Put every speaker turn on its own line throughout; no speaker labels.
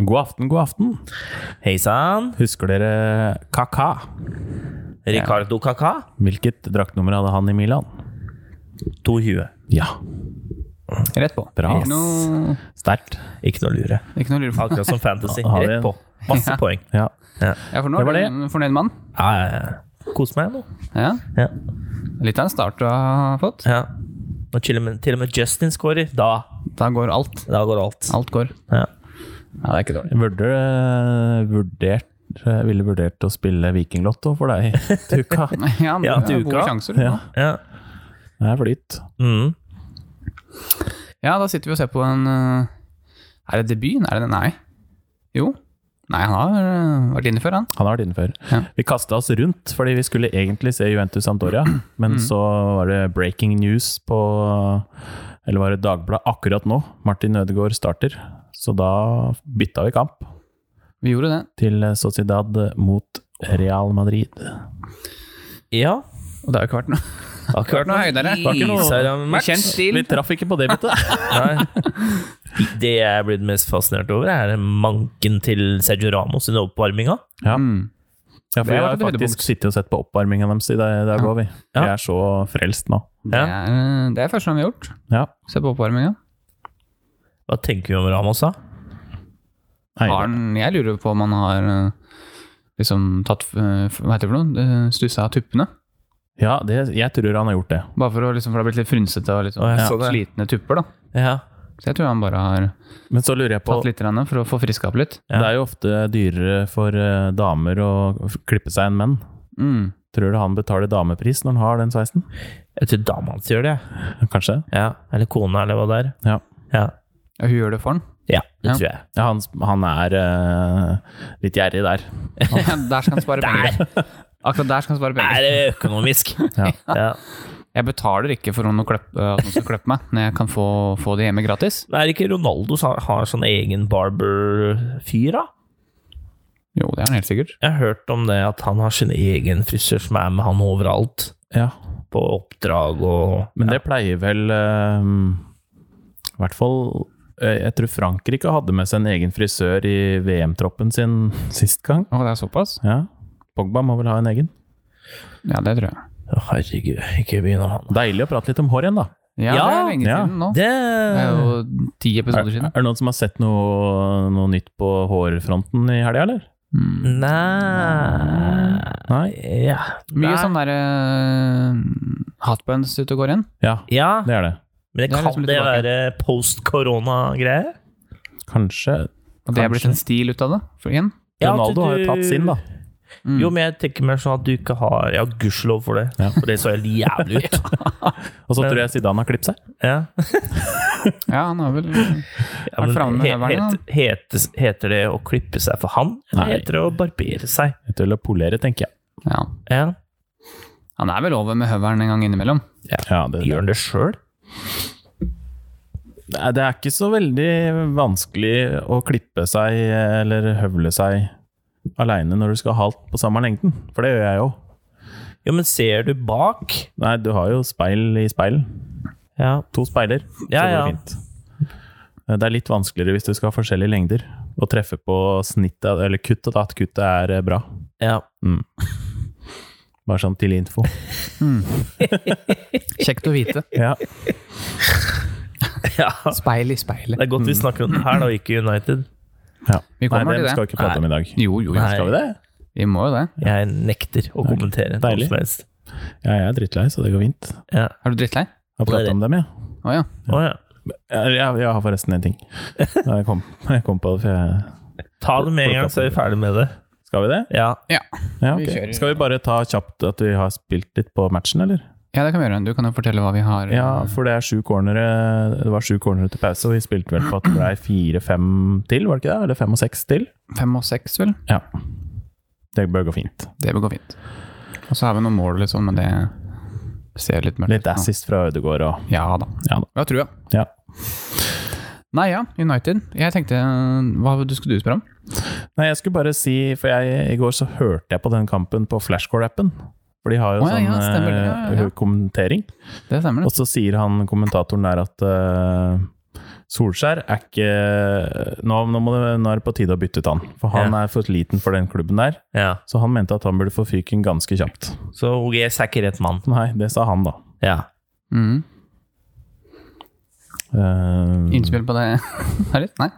God aften, god aften.
Hei sann.
Husker dere Kaka?
Ricardo Kaka.
Hvilket draktnummer hadde han i Milan?
220.
Ja,
Rett på.
Bra.
Ikke noe,
sterkt.
Ikke noe å lure.
ikke noe å lure på.
Akkurat som Fantasy.
Har vi en-
Rett på. Masse
Ja.
poeng.
Ja.
Ja, for nå
Det var
er du
det.
en fornøyd mann.
Ja, ja, ja. Kos meg nå.
Ja.
Ja.
Litt av en start du har fått.
ja. Når til og med, til og med Justin scorer, da,
Da går alt.
da går alt.
Alt går.
Ja.
Ja, det er ikke dårlig.
Jeg Burde eh, vurdert jeg ville vurdert å spille Vikinglotto for deg, Tuka.
Ja, men
Ja,
det
til
er gode
uka.
sjanser.
Ja.
Ja.
Det er flyt.
Mm.
Ja, da sitter vi og ser på en eh, Er det debuten? Er det det? Nei. Jo. Nei, han har eh, vært inne før, han.
Han har vært inne før.
Ja.
Vi kasta oss rundt, fordi vi skulle egentlig se Juventus Santoria,
Mm.
men så var det breaking news på Eller var det Dagbladet akkurat nå? Martin Ødegaard starter. Så da bytta vi kamp
Vi gjorde det.
til Sociedad mot Real Madrid.
ja.
Og det har jo ikke vært noe.
Det har ikke
vært noe høydere.
Det har ikke noe
Især
I kjent stil.
Vi traff ikke på det byttet.
Nei. Det jeg er blitt mest fascinert over, er manken til Sergio Ramos under oppvarminga.
Ja.
Mm.
Ja, for
Det
vi
har
har
vært et
faktisk
høydepunkt.
sittet og sett på oppvarminga deres i dag, der går vi. Vi
Ja.
er så frelst nå.
Det,
Ja.
er, eh, det er første gang vi har gjort.
Ja.
Se på oppvarminga.
Hva tenker vi om Ramos, da?
Nei,
Har han- Jeg lurer på om han har eh, liksom tatt eh, Hva heter det for noe? Eh, Stussa av tuppene.
ja det, jeg tror han har gjort det.
Bare for, å, liksom, for det har blitt litt frynsete og litt sånn,
Å, jeg så det.
slitne tupper, da.
Ja.
Så jeg tror han bare har
Men så lurer jeg på
tatt litt grann for å få friska opp litt.
Det er jo ofte dyrere for eh, damer å f- klippe seg enn menn.
Mm.
Tror du han betaler damepris når han har den sveisen?
Jeg tror dama hans gjør det.
Kanskje?
Ja. Eller kona, eller hva det er.
Ja.
Ja,
Ja, hun gjør det for han.
ja det
Ja.
tror jeg.
Ja, han, han er eh, litt gjerrig der.
Ja, der skal han spare penger. Akkurat der skal han spare penger.
Er det økonomisk?
Ja.
Ja.
Jeg betaler ikke for noen å klippe, at noen skal klippe meg, når jeg kan få, få det hjemme gratis.
Men Er det ikke Ronaldo som har sånn egen barber-fyr, da?
Jo, det er han helt sikkert.
Jeg har hørt om det, at han har sin egen frisør som er med han overalt.
Ja.
På oppdrag og
Men det pleier vel eh, I hvert fall eh, Jeg tror Frankrike hadde med seg en egen frisør i VM-troppen sin sist gang.
Å, det er såpass?
Ja. Pogba må vel ha en egen.
Ja, det tror jeg.
Å, Herregud, ikke begynn om han.
Deilig å prate litt om hår igjen, da.
Ja, det
Ja,
er lenge
ja.
siden nå.
Det
Det er jo ti
Er,
episoder
er
siden.
det noen som har sett noe, noe nytt på hårfronten i helga, eller?
Mm.
Nei
Nei?
Ja.
Mye
Nei.
sånn derre hotbuns ute og går igjen.
Ja,
Ja,
det er det.
men det
det er
kan
liksom litt
det
tilbake.
være post-korona-greie?
Kanskje
Og det er blitt en stil ut av det. For igjen.
Ja, at
Ronaldo har jo
du-
tatt sin, da.
Mm.
Jo, men jeg tenker mer sånn at du ikke har Ja, gudskjelov for det,
Ja.
for det så helt jævlig ut.
Og så
Men-
tror jeg Zidane har klippet seg.
Ja.
Ja, han har vel
Ja, men
Vært framme med
he-
høvelen, da.
het- hetes- Heter det å klippe seg for han, eller
Nei.
heter det å barbere seg?
Etter å polere, tenker jeg.
Ja.
Ja.
Han er vel over med høvelen en gang innimellom.
Ja, det,
Gjør han det sjøl?
Nei, Eh, det er ikke så veldig vanskelig å klippe seg eller høvle seg aleine når du skal ha alt på samme lengden, for det gjør jeg jo.
Jo, men ser du bak
Nei, du har jo speil i speil.
Ja.
To speiler, så
Ja,
går
ja.
det fint. Eh, Det er litt vanskeligere hvis du skal ha forskjellige lengder, å treffe på snittet, eller kuttet, da, at kuttet er eh, bra.
ja.
Bare sånn til info.
Kjekt å vite.
Ja,
ja.
Speil i
Det
speilet.
er godt vi snakker om det her, da, og ikke United.
ja. Nei,
Vi kommer
det
til det.
skal vi ikke prate om i dag.
Jo, jo, jo.
Nei.
Skal vi det?
Vi må jo det.
Jeg nekter å kommentere noe
Deilig.
som helst.
Ja, jeg er drittlei, så det går fint.
Ja.
Er du drittlei?
Jeg har pratet om dem, ja.
Å ja.
Å, ja.
Jeg, jeg, jeg har forresten en ting. Jeg kom, jeg kom på det, for jeg
Ta det med en gang, så er vi ferdig med det.
Skal vi det?
Ja.
ja.
Ja,
Vi
ok.
kjører.
Skal vi bare ta kjapt at vi har spilt litt på matchen, eller?
Ja, det kan vi gjøre. Du kan jo fortelle hva vi har.
Ja, for det er sju cornere Det var sju cornere til pause, og vi spilte vel på at det ble fire-fem til, var det ikke det? Eller fem og seks til?
Fem og seks, vel?
Ja. Det bør gå fint.
Det bør gå fint. Og så har vi noen mål, liksom, men det ser litt mørkt
Litt
ut. nå.
assist fra Ødegaard og
Ja da.
Ja da.
Jeg tror jeg.
Ja.
Nei ja, United. Jeg tenkte Hva du skulle du spørre om?
Nei, jeg skulle bare si, for jeg, i går så hørte jeg på den kampen på Flashcore-appen. For de har jo
Å, ja,
sånn
ja, stemmer det. Ja, ja,
eh,
ja.
kommentering.
Mm. Det stemmer,
Og
det.
så sier han kommentatoren der at eh, Solskjær er ikke Nå, nå, må det, nå er det på tide å bytte ut han. For han er for liten for den klubben der.
Ja.
Så han mente at han burde få fyken ganske kjapt.
Så OGS er ikke rett mann.
Nei, det sa han, da.
Ja.
Mm.
Eh,
Innspill på det? Harry? Nei.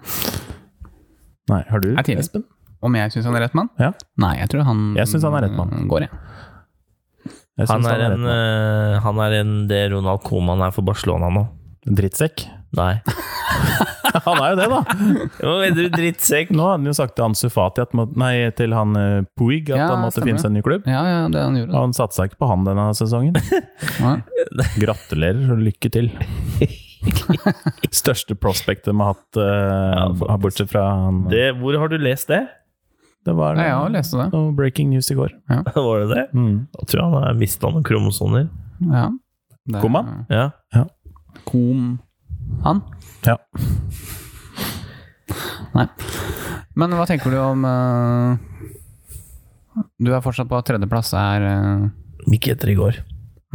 Nei, har du?
Er tidlig.
Espen?
Om jeg syns han er rett mann?
Ja.
Nei, jeg tror han
Jeg synes han er rett mann.
øh, går, jeg.
Jeg
Han
synes
er,
rett
en,
mann.
eh, han er en det Ronald Koeman er for Barcelona nå.
drittsekk.
Nei.
Han er jo det, da!
Hva mener du, drittsekk?
Nå hadde han jo sagt til Ansu Fati at, må- nei, til han eh, Puig at
Ja,
han måtte
stemmer
finne seg en ny klubb.
Ja, ja, det han
Og
gjorde.
han satsa ikke på han denne sesongen.
Ja.
Gratulerer og lykke til. Største prospect de har hatt, eh,
faktisk.
bortsett fra han
Det, hvor har du lest det?
Det var
Ja, jeg leste det.
noe breaking news i går.
Var det det?
Mm.
Jeg tror han har mista noen kromosoner.
Ja. Det-
Kom han?
Ja.
Kom han?
Ja.
Nei. Men hva tenker du om øh, Du er fortsatt på tredjeplass, er øh,
Ikke etter i går.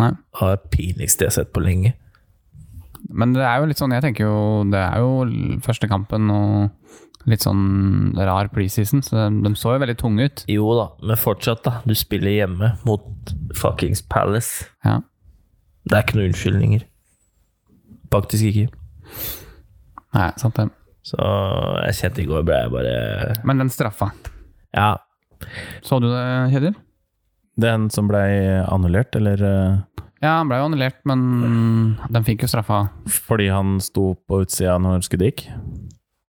Nei.
Det var det pinligste jeg har sett på lenge.
Men det er jo litt sånn, jeg tenker jo Det er jo l- første kampen og litt sånn rar preseason, så de, de så jo veldig tunge ut.
Jo da, men fortsatt, da. Du spiller hjemme mot fuckings Palace.
Ja.
Det er ikke noen unnskyldninger. Faktisk ikke.
Nei, sant det.
Så jeg kjente i går ble jeg bare
Men den straffa.
Ja.
Så du det, Kjetil?
Den som blei annullert, eller eh,
Ja, han ble jo annullert, men den fikk jo straffa.
fordi han sto på utsida når skuddet gikk?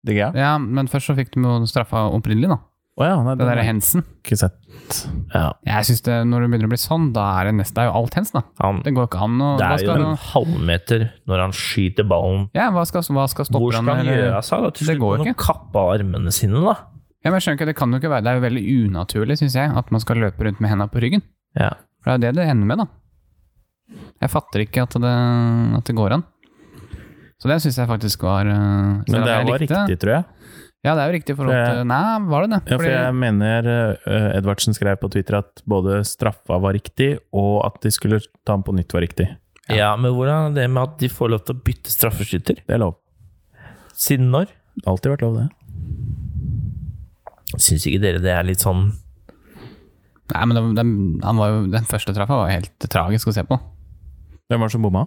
Det gøy.
Ja, men først så fikk de jo straffa opprinnelig, da.
Å ja, nei,
Det
den har
derre
jeg
Hensen.
ikke sett.
ja.
Jeg synes det, Når det begynner å bli sånn, da er det nesten Det er jo alt hens, da.
Han,
Det går ikke an å
det
hva
er jo
skal,
en halvmeter når han skyter ballen.
Ja, hva skal, hva skal stoppe
Hvor skal han
eller-
gjøre av seg? da? Til
Det
slutt
går
må han
ikke.
kappe av armene sine, da.
Ja, men jeg skjønner ikke, Det kan jo ikke være Det er jo veldig unaturlig, syns jeg, at man skal løpe rundt med henda på ryggen.
Ja.
For det er jo det det ender med, da. Jeg fatter ikke at det, at det går an. Så det syns jeg faktisk var eh, selv
Men
om
det
jeg
var
likte
riktig, tror jeg.
Ja, det er jo riktig i forhold
For jeg-
til Nei, var det det?
Ja, for
Fordi-
jeg mener eh, Edvardsen skrev på Twitter at både straffa var riktig, og at de skulle ta ham på nytt var riktig.
Ja. men hvordan er det med at de får lov til å bytte straffeskytter?
Det er lov.
Siden når?
Det har alltid vært lov, det.
Syns ikke dere det er litt sånn
Nei, men den, den, han var jo, den første treffa var jo helt tragisk å se på.
Hvem var det som bomma?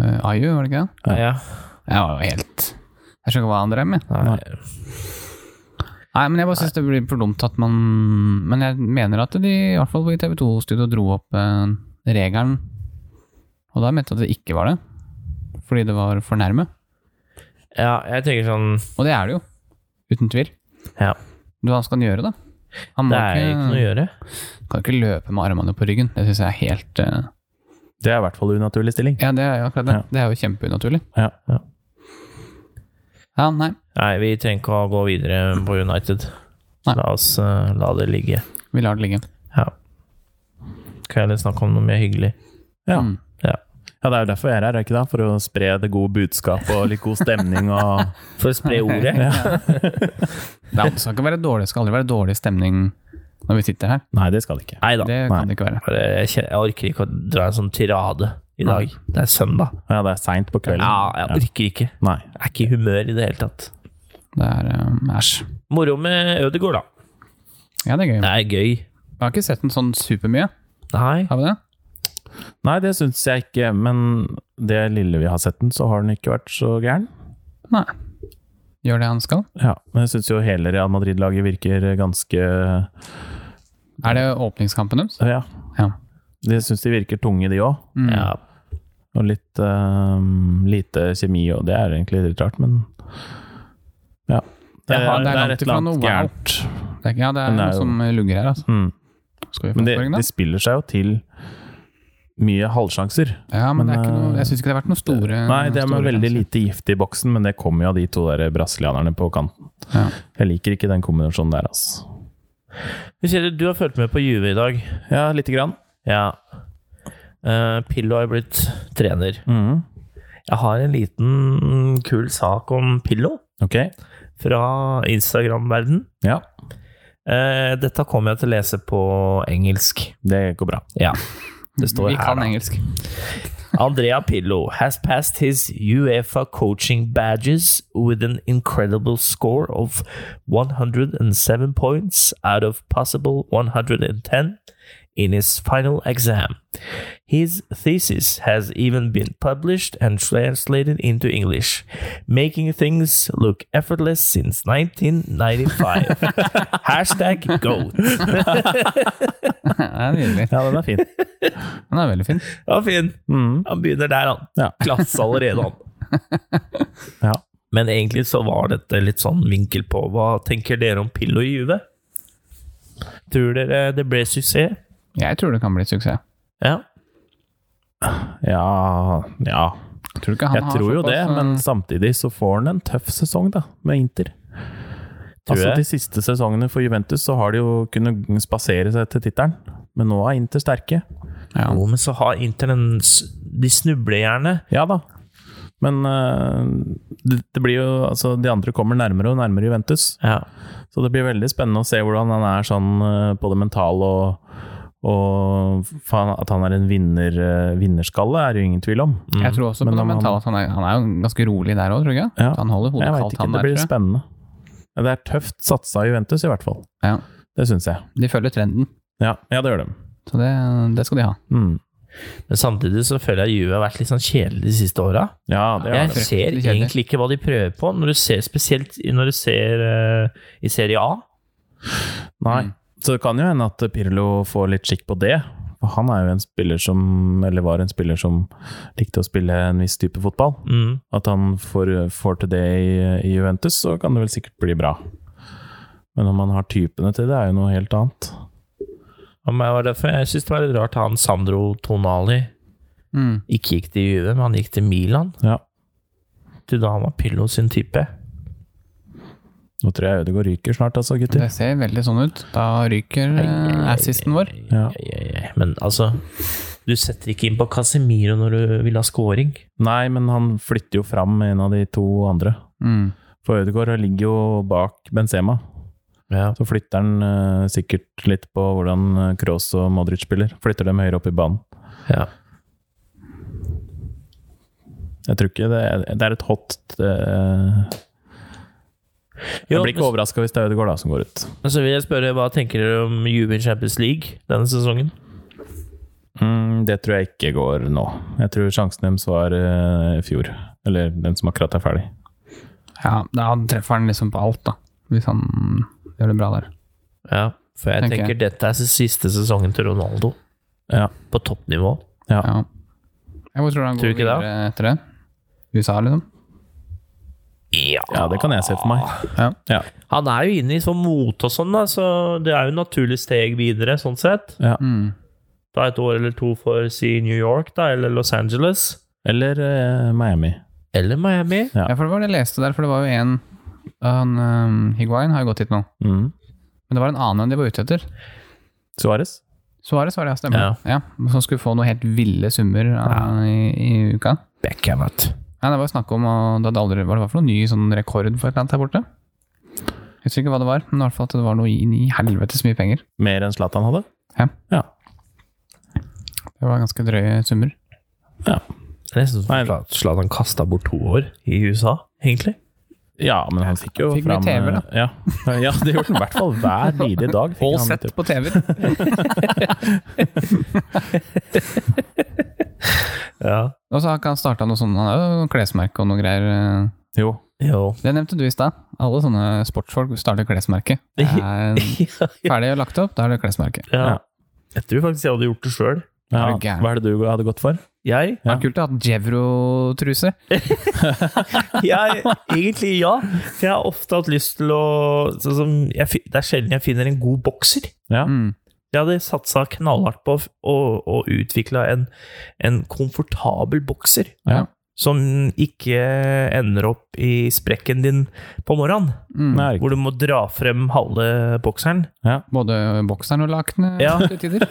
Eh, Ayu, var det ikke det?
Ja.
Ja.
Jeg var jo helt Jeg skjønner ikke hva han drev med.
Nei.
Nei, men jeg bare syns det blir for dumt at man Men jeg mener at de, i hvert fall i TV 2-studio, dro opp eh, regelen. Og da mente jeg at det ikke var det. Fordi det var for nærme.
Ja, jeg tenker sånn
Og det er det jo. Uten tvil.
Ja,
Men Hva skal han gjøre, da? Han må
det er ikke noe å
ikke,
gjøre.
kan ikke løpe med armene på ryggen. Det syns jeg er helt eh,
Det er i hvert fall unaturlig stilling.
Ja, det er jo akkurat det.
Ja.
Det er jo kjempeunaturlig.
Ja.
Ja.
Ja, nei.
Nei, vi trenger ikke å gå videre på United.
Nei.
La oss eh, la det ligge.
Vi lar det ligge.
Ja. Kan jeg heller snakke om noe mer hyggelig?
Ja.
Mm.
Ja.
Ja, Det er jo derfor jeg er her, er ikke det? For å spre det gode budskapet og litt god stemning. Og
For å spre ordet?
Det er- det skal ikke være dårlig, det skal aldri være dårlig stemning når vi sitter her.
Nei, det skal det ikke.
Nei da.
Det
Nei.
kan det ikke være.
Jeg, kjenner, jeg orker ikke å dra en sånn tirade i dag. Det er søndag.
Ja, det er seint på kvelden.
Ja, jeg orker ikke.
Nei.
Jeg er ikke i humør i det hele tatt.
Det er eh, Æsj.
Moro med Ødegaard, da.
Ja, det er gøy.
Det er gøy.
Vi har ikke sett den sånn supermye,
Nei.
har vi det?
Nei, det syns jeg ikke. Men det lille vi har sett den, så har den ikke vært så gæren.
Nei. Gjør det han skal.
Ja, Men jeg syns jo hele Real Madrid-laget virker ganske
Er det åpningskampen deres?
Ja.
Ja.
Jeg syns de virker tunge, de òg.
Mm.
Ja.
Og litt eh, lite kjemi, og det er egentlig litt rart, men Ja.
Ja, det er langt
et
ifra
eller annet
noe wow.
gærent.
Det er, ikke- ja, det er
Men det er
noe
jo-
som lugger her, altså.
Mm.
Skal vi få
Men de,
oppføring, da?
de spiller seg jo til mye halvsjanser.
Ja, men, det er ikke
men,
noe,
eh,
jeg syns ikke det har vært noen store
Nei, det er
store
med veldig
sjanser.
lite gift i boksen, men det kommer jo av de to der brasilianerne på kanten.
Ja.
Jeg liker ikke den kombinasjonen der, altså.
Men Kjell, du har fulgt med på Juve i dag.
Ja, lite grann.
Ja. Eh, Pillo har blitt trener.
Mhm.
Jeg har en liten mm, kul sak om Pillo
Ok.
fra Instagram-verden.
Ja,
Eh, dette kommer jeg til å lese på engelsk.
det går bra.
Ja. Det står
Vi
her,
kan
da.
engelsk.
Andrea Pillo has passed his UEFA coaching badges with an incredible score of 107 points out of possible 110 in his final exam. His thesis has even been published and translated into English, making things look effortless since 1995. Hashtag GOAT.
Det er nydelig.
Ja, den er fin.
Den er veldig fin.
Ja, fin. Han begynner der, han.
Ja.
Klasse allerede, han.
Ja.
Men egentlig så var dette litt sånn vinkel på hva tenker dere om Pillo i Juve? Tror dere det ble suksess?
Jeg tror det kan bli suksess.
Ja.
Ja, ja.
Tror du ikke han
Jeg
har
tror jo det,
såpass, eh,
men samtidig så får han en tøff sesong da, med Inter.
Tror
altså
jeg.
De siste sesongene for Juventus så har de jo kunnet spasere seg til tittelen, men nå er Inter sterke.
ja.
Jo, men så har Inter en s- De snubler gjerne.
Ja da. Men eh, det, det blir jo, altså, de andre kommer nærmere og nærmere Juventus.
Ja.
Så det blir veldig spennende å se hvordan han er sånn eh, på det mentale og, og fa- at han er en vinner, eh, vinnerskalle, er det jo ingen tvil om.
Jeg tror også
Mm. Men
på det
om han-
mentale at han er, han er jo ganske rolig der òg, tror jeg.
Ja.
Han holder hodet
Jeg veit
kaldt,
ikke,
han
det
der,
blir
tror jeg.
spennende. Det er tøft satsa av Juventus, i hvert fall.
Ja.
Det syns jeg.
De følger trenden,
Ja, ja det gjør de.
så det, det skal de ha.
Mm.
Men samtidig så føler jeg Juve har vært litt sånn kjedelig de siste åra.
Ja, det gjør
Jeg
de.
fryktelig
ser
kjedelig.
egentlig ikke hva de prøver på, når du ser, spesielt når du ser eh, i Serie A.
Nei. Mm. Så det kan jo hende at Pirlo får litt skikk på det. For han er jo en spiller som, eller var en spiller som likte å spille en viss type fotball.
Mm.
At han får, får til det i, i Juventus, så kan det vel sikkert bli bra. Men om han har typene til det, er jo noe helt annet.
Og meg var derfor, jeg syns det var litt rart han Sandro Tonali
Mm.
ikke gikk til Juve, men han gikk til Milan.
Ja.
Til da han var Pillo sin type.
Nå tror jeg Ødegaard ryker snart, altså, gutter.
Det ser veldig sånn ut. Da ryker eh, assisten vår.
Ja.
Ja, ja, ja. Men altså Du setter ikke inn på Casemiro når du vil ha scoring.
Nei, men han flytter jo fram en av de to andre.
Mm.
For Ødegaard ligger jo bak Benzema.
Ja.
Så flytter han eh, sikkert litt på hvordan eh, Kroos og Modric spiller. Flytter dem høyere opp i banen. Jeg tror ikke det er, det er et hot eh, Jeg
Jo,
blir ikke
men-
overraska hvis det er Ødegaard da som går ut.
Men så vil jeg spørre, hva tenker dere om Juve i Champions League denne sesongen?
Mm, det tror jeg ikke går nå. Jeg tror sjansen deres var eh, i fjor. Eller den som akkurat er ferdig.
Ja, da treffer han liksom på alt, da. Hvis han gjør det bra der.
Ja, for jeg
Tenker
tenker
jeg.
dette er siste sesongen til Ronaldo
Ja.
på toppnivå.
Ja.
Ja. Jeg hvor tror du han
Tror du
går
ikke det?
videre etter det? USA, liksom?
ja, det kan jeg se for meg.
Ja.
Ja.
Han er jo inne i sånn mote og sånn, da, så det er jo et naturlig steg videre, sånn sett.
Ja.
Mm.
Da et år eller to for si New York, da, eller Los Angeles.
Eller eh, Miami.
Eller Miami.
Ja.
Ja, for det var det jeg leste der, for det var jo en han, eh, Higuain har jo gått hit nå.
Mm.
Men det var en annen enn de var ute etter.
Suárez.
Svaret, svaret, ja, stemmer.
Ja.
Ja. som skulle få noen helt ville summer eh, i, i uka.
Beckham, vet
Ja, det var jo snakk om, og det hadde aldri Hva det var for noen ny sånn rekord for et eller annet her borte? Jeg husker ikke hva det var, men i hvert fall at det var noe inn i helvetes mye penger.
Mer enn Zlatan hadde.
Ja.
Ja.
Det var ganske drøye summer.
Nesten
Nei.
som Zlatan kasta bort to år i USA, egentlig.
ja, men han fikk jo
Fikk mye
fram
TV, da.
eh, Ja. ja, det gjorde han i hvert fall hver bidige dag. fikk
Og
han
sett
litt opp.
på TV-er!
Ja.
Og så har ikke han starta noe sånn, han har jo noen klesmerke og noe greier. eh.
Jo.
Jo.
Det nevnte du i stad. Alle sånne sportsfolk starter klesmerke. Det er Ferdig og lagt opp, da er det klesmerke.
ja. Jeg tror faktisk jeg hadde gjort det sjøl.
Ja.
Er du gæren?
Hva er det du hadde gått for?
Jeg?
Det er kult å ha Jevro-truse.
jeg? Egentlig ja. For jeg har ofte hatt lyst til å sånn som jeg, fi- Det er sjelden jeg finner en god bokser.
Ja.
Mm.
Jeg hadde satsa knallhardt på å f- å, å utvikle en, en komfortabel bokser.
Ja.
Som ikke ender opp i sprekken din på morgenen,
Mm.
Nei,
hvor du må dra frem halve bokseren.
Både bokseren og lakenet
Ja.
til tider.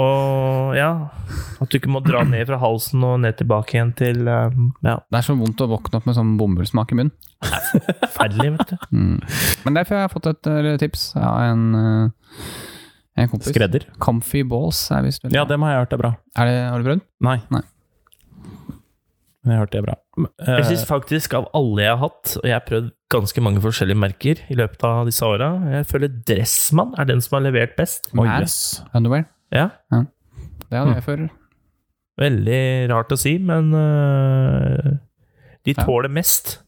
Og ja, at du ikke må dra ned fra halsen og ned tilbake igjen til eh, Ja,
Det er så vondt å våkne opp med sånn bomullsmak i munnen.
forferdelig, vet du.
Mm. Men derfor har jeg fått et eh, tips av en, eh, en kompis.
Skredder.
Comfy balls er visst veldig
Ja, dem har jeg hørt er bra.
er det, Har du prøvd?
Nei. Men jeg hørte det er bra. Eh,
Jeg syns faktisk av alle jeg har hatt, og jeg har prøvd ganske mange forskjellige merker i løpet av disse åra, jeg føler Dressmann er den som har levert best.
Oi,
Nei.
jøss.
Underwear.
Ja,
Det hadde jeg før.
Veldig rart å si, men øh, de
Ja.
tåler mest.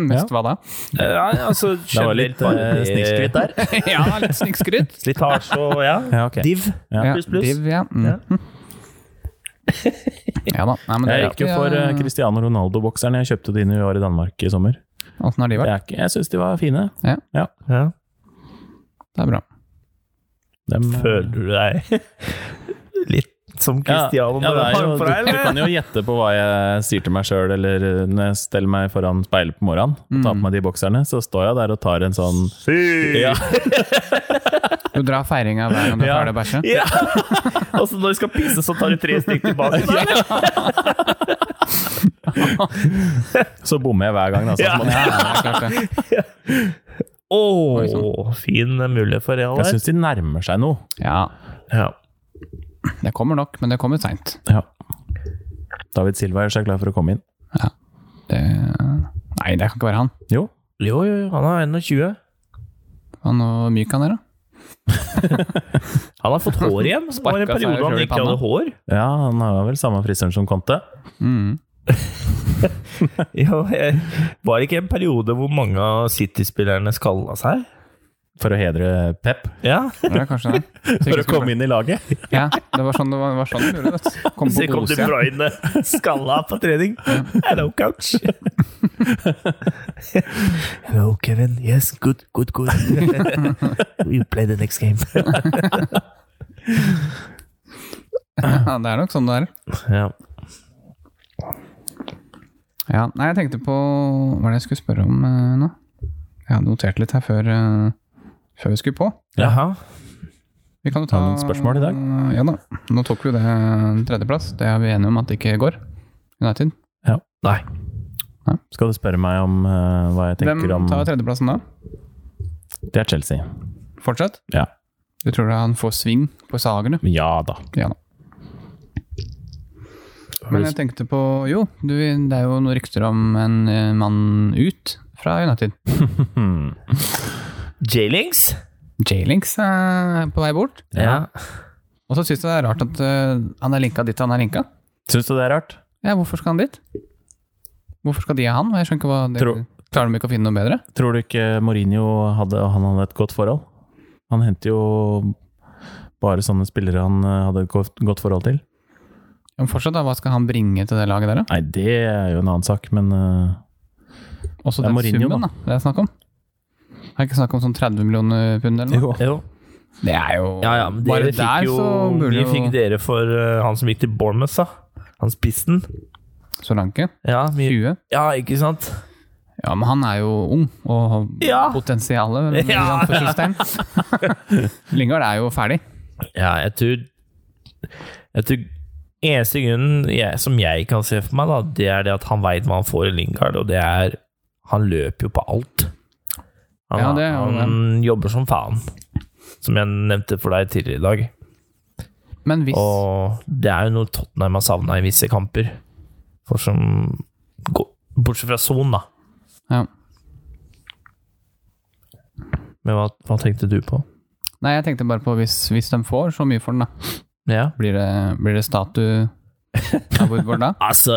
Mest hva da?
Eh, Nei, altså
Det var
generelt
litt eh,
bare-
snikskryt der.
ja, litt snikskryt.
Slitasje og ja.
Ja, ok.
Div.
Ja.
Ja,
Pluss, pluss.
Div, ja. Mm.
Ja.
ja da. Nei, men det
Jeg
er
gikk jo
riktig,
for eh,
ja.
Cristiano Ronaldo-bokserne jeg kjøpte de når vi var i Danmark i sommer.
Åssen har de
Det
vært?
er ikke, jeg syns de var fine.
Ja.
Det er bra.
Dem, eh,
Føler du deg litt som Cristiano
ja, det er jo,
Ronaldo for deg,
du, du kan
eller?
jo gjette på hva jeg sier til meg sjøl, eller eh, når jeg steller meg foran speilet på morgenen og tar på meg de bokserne, så står jeg der og tar en sånn ja,
Du drar feiringa hver gang du er
Ja.
ferdig å bæsje?
Ja. Og så når du skal pisse, så tar du tre stykk tilbake. Der.
Så bommer jeg hver gang. Altså.
Ja.
Sånn,
Ja, det er klart det.
Åh,
Oi, sånn.
fin mulighet for real
Jeg
der.
syns de nærmer seg noe.
Ja,
Ja.
det kommer nok, men det kommer seint.
Ja. David Silva gjør seg klar for å komme inn.
Det... Nei, det kan ikke være han.
Jo,
Jo, jo, jo, han er 21.
Han og myk han er, da.
Han har fått hår igjen. Det var en
Sparka seg
periode han
selv i
ikke hadde
panna.
hår.
ja, han har vel samme frisøren som Conte.
Mm.
Ja, jeg- var det ikke en periode hvor mange av City-spillerne skalla seg?
For å hedre Pep.
Ja,
Det er kanskje det.
For å komme inn i laget.
Ja, det var sånn det var, var sånn de gjorde det. vet du. Kom
så
på
kom De
Borussia.
Bruyne skalla på trening. Hello, coach. Hello, Kevin. Yes, good, good, good. you play the next game.
Ja, det er nok sånn det er.
Ja.
Ja, nei, jeg tenkte på Hva er det jeg skulle spørre om eh, nå? Jeg hadde notert litt her før, eh, før vi skulle på.
Jaha.
Vi kan jo ta
Har du noen spørsmål i dag?
Ja da. Nå tok vi jo det tredjeplass. Det er vi enige om at det ikke går. United.
Nei.
Skal du spørre meg om eh, hva jeg
Hvem
tenker om
tar tredjeplassen da?
Det er Chelsea.
Fortsatt?
Ja.
Du tror han får sving på sagene?
Ja da.
Ja da. Men jeg tenkte på Jo, du, det er jo noen rykter om en eh, mann ut fra United.
Hmm.
J-Links?
J-Links er på vei bort.
Ja.
Og så syns jeg det er rart at eh, han er linka dit han er linka.
Syns du det er rart?
Ja, hvorfor skal han dit? Hvorfor skal de ha han? Jeg skjønner ikke hva det,
Tror-
Klarer de ikke å finne noe bedre?
Tror du ikke Mourinho hadde, han hadde et godt forhold? Han henter jo bare sånne spillere han eh, hadde et godt, godt forhold til.
Men fortsatt, da, hva skal han bringe til det laget der, da?
Nei, det er jo en annen sak, men eh,
Også
Det er
den
Mourinho,
summen, da. Det er snakk om. Er det ikke snakk om sånn 30 millioner pund eller noe?
jo.
Jo.
Det er jo
Ja, ja, men
Bare
dere
der
fikk jo,
så burde
vi fikk
jo
dere for eh, han som gikk til Bournemouth, da. Han spissen.
Solanke
Ja, mye.
20.
ja, ikke sant?
Ja, men han er jo ung og har
Ja.
potensialet. i
Ja.
anførselstegn. Lingard er jo ferdig.
Ja, jeg tror Jeg tror eneste grunnen jeg, som jeg kan se for meg, da, det er det at han veit hva han får i Lingard, og det er Han løper jo på alt. Han,
Ja, det er jo
han jobber som faen, som jeg nevnte for deg tidligere i dag.
Men hvis
Og det er jo noe Tottenham har savna i visse kamper. For som gå- Bortsett fra Son, da.
ja.
Men hva, hva tenkte du på?
Nei, jeg tenkte bare på hvis, hvis de får så mye for den, da.
Ja.
Blir det, blir det statue av Woodward da?
Altså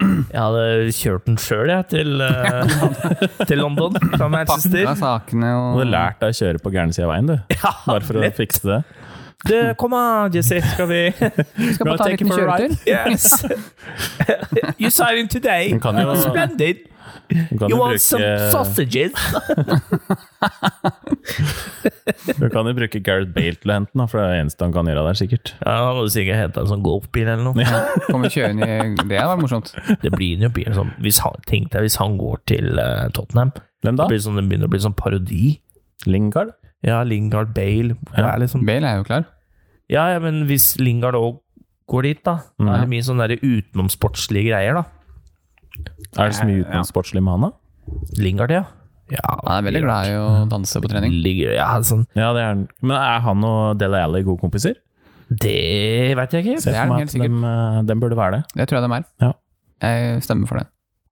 Jeg hadde kjørt den sjøl, jeg, til, eh, til London fra
Pakka
Manchester.
sakene
Du
og
hadde lært deg å kjøre på gærne sida av veien, du.
Ja,
Bare for å fikse det.
Du, kom an, Jesse, skal vi
Vi skal bare ta en
Take
liten
it for a ride.
kjøretur.
Yes! You sign in today.
Hun kan jo-
Splendid.
Du kan
You
jo
want some
bruke,
sausages?
du kan jo bruke Gareth Bale til å hente den, da, for det er det eneste han kan gjøre der, sikkert.
Ja, Han hadde sikkert henta en sånn golfbil eller noe.
Kommer kjørende i Det hadde vært morsomt.
Det blir jo bil sånn hvis han, Tenk deg hvis han går til eh, Tottenham.
Hvem da?
Det, blir sånn, det begynner å bli sånn parodi.
Lingard?
Ja, Lingard, Bale det er liksom
Bale er jo klar.
Ja, ja, men hvis Lingard òg går dit, da, da
Mhm.
er det mye sånne der utenomsportslige greier, da.
Er det så mye utenomsportslig med han, da?
Lingard, ja. Ja,
Han er veldig glad i å danse på trening.
Ligger, ja, sånn.
Ja, det er han. Men er han og Dele Alli gode kompiser?
Det veit jeg ikke.
Ser
Det er
for
den
meg
helt
at dem, eh, dem burde være det.
Det tror jeg de er.
Ja.
Jeg stemmer for det.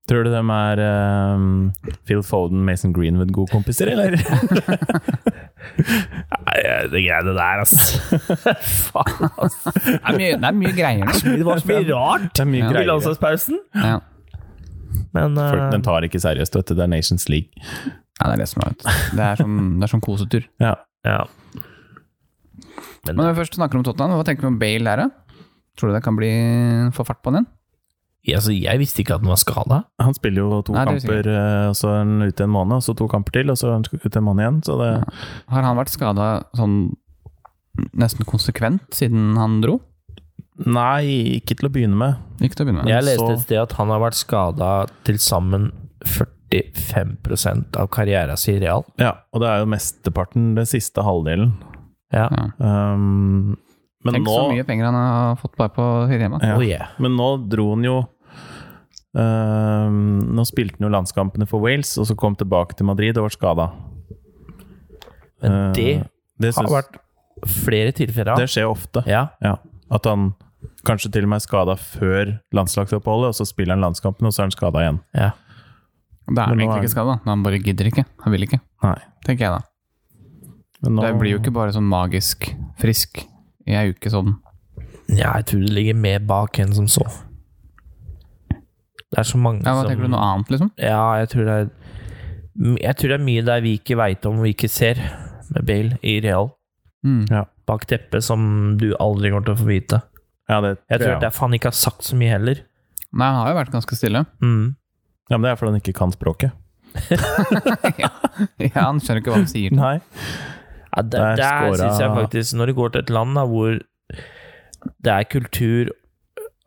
Tror du dem er eh, Phil Foden, Mason Greenwood gode kompiser, eller?
Nei, det greiene der, altså. Faen, altså.
Det er mye, det er mye greier nå.
Det var så mye rart
Det er mye
Ja.
i
greier.
landslagspausen.
Ja.
Men eh,
Folk, den tar ikke seriøst, vet du. Det er Nations League.
Nei, det er det som er vet du. Det er sånn, det er sånn kosetur.
Ja.
ja.
Men når vi først snakker om Tottenham, hva tenker vi om Bale der, da? Tror du det kan bli få fart på den igjen?
Ja, altså, jeg visste ikke at den var skada.
Han spiller jo to
Nei, det visste jeg
kamper, eh, og så er han ute en måned, og så to kamper til, og så er han ute en måned igjen. Så det,
Har han vært skada sånn nesten konsekvent siden han dro?
Nei, ikke til å begynne med.
Ikke til å begynne med.
Jeg leste
så-
et sted at han har vært skada til sammen 45 av karrieren sin i Real.
Ja, og det er jo mesteparten, den siste halvdelen.
Ja.
Ja.
Um, men,
Tenk
nå,
så mye penger han har fått bare på Hirema.
Ja.
Oh, yeah.
men nå dro han jo um, Nå spilte han jo landskampene for Wales, og så kom tilbake til Madrid og var skada.
Men det
det,
har
syns-
vært flere tilfeller av.
Eh, det skjer ofte.
Ja.
Ja. At han kanskje til og med er skada før landslagsoppholdet, og så spiller han landskampen, og så er han skada igjen.
ja.
Da er
Men nå
han
er
egentlig
han-
ikke skada. Han bare gidder ikke. Han vil ikke,
Nei.
tenker jeg da.
Men nå,
Det blir jo ikke bare sånn magisk frisk i ei uke sånn.
ja, jeg tror det ligger mer bak enn som så. Det er så mange
Ja, Hva
som
tenker du, noe annet, liksom?
Ja, jeg tror det er Jeg tror det er mye der vi ikke veit om og ikke ser, med Bale i Real.
Mm.
ja.
Bak teppet som du aldri kommer til å få vite.
ja, det
Jeg tror
tror jeg.
derfor han ikke har sagt så mye heller.
Nei, han har jo vært ganske stille.
Mm.
Ja, men det er fordi han ikke kan språket.
Ja, Han skjønner ikke hva han sier.
Nei.
Ja, der
Der
der,
scora-
syns jeg faktisk Når det går til et land da, hvor det er kultur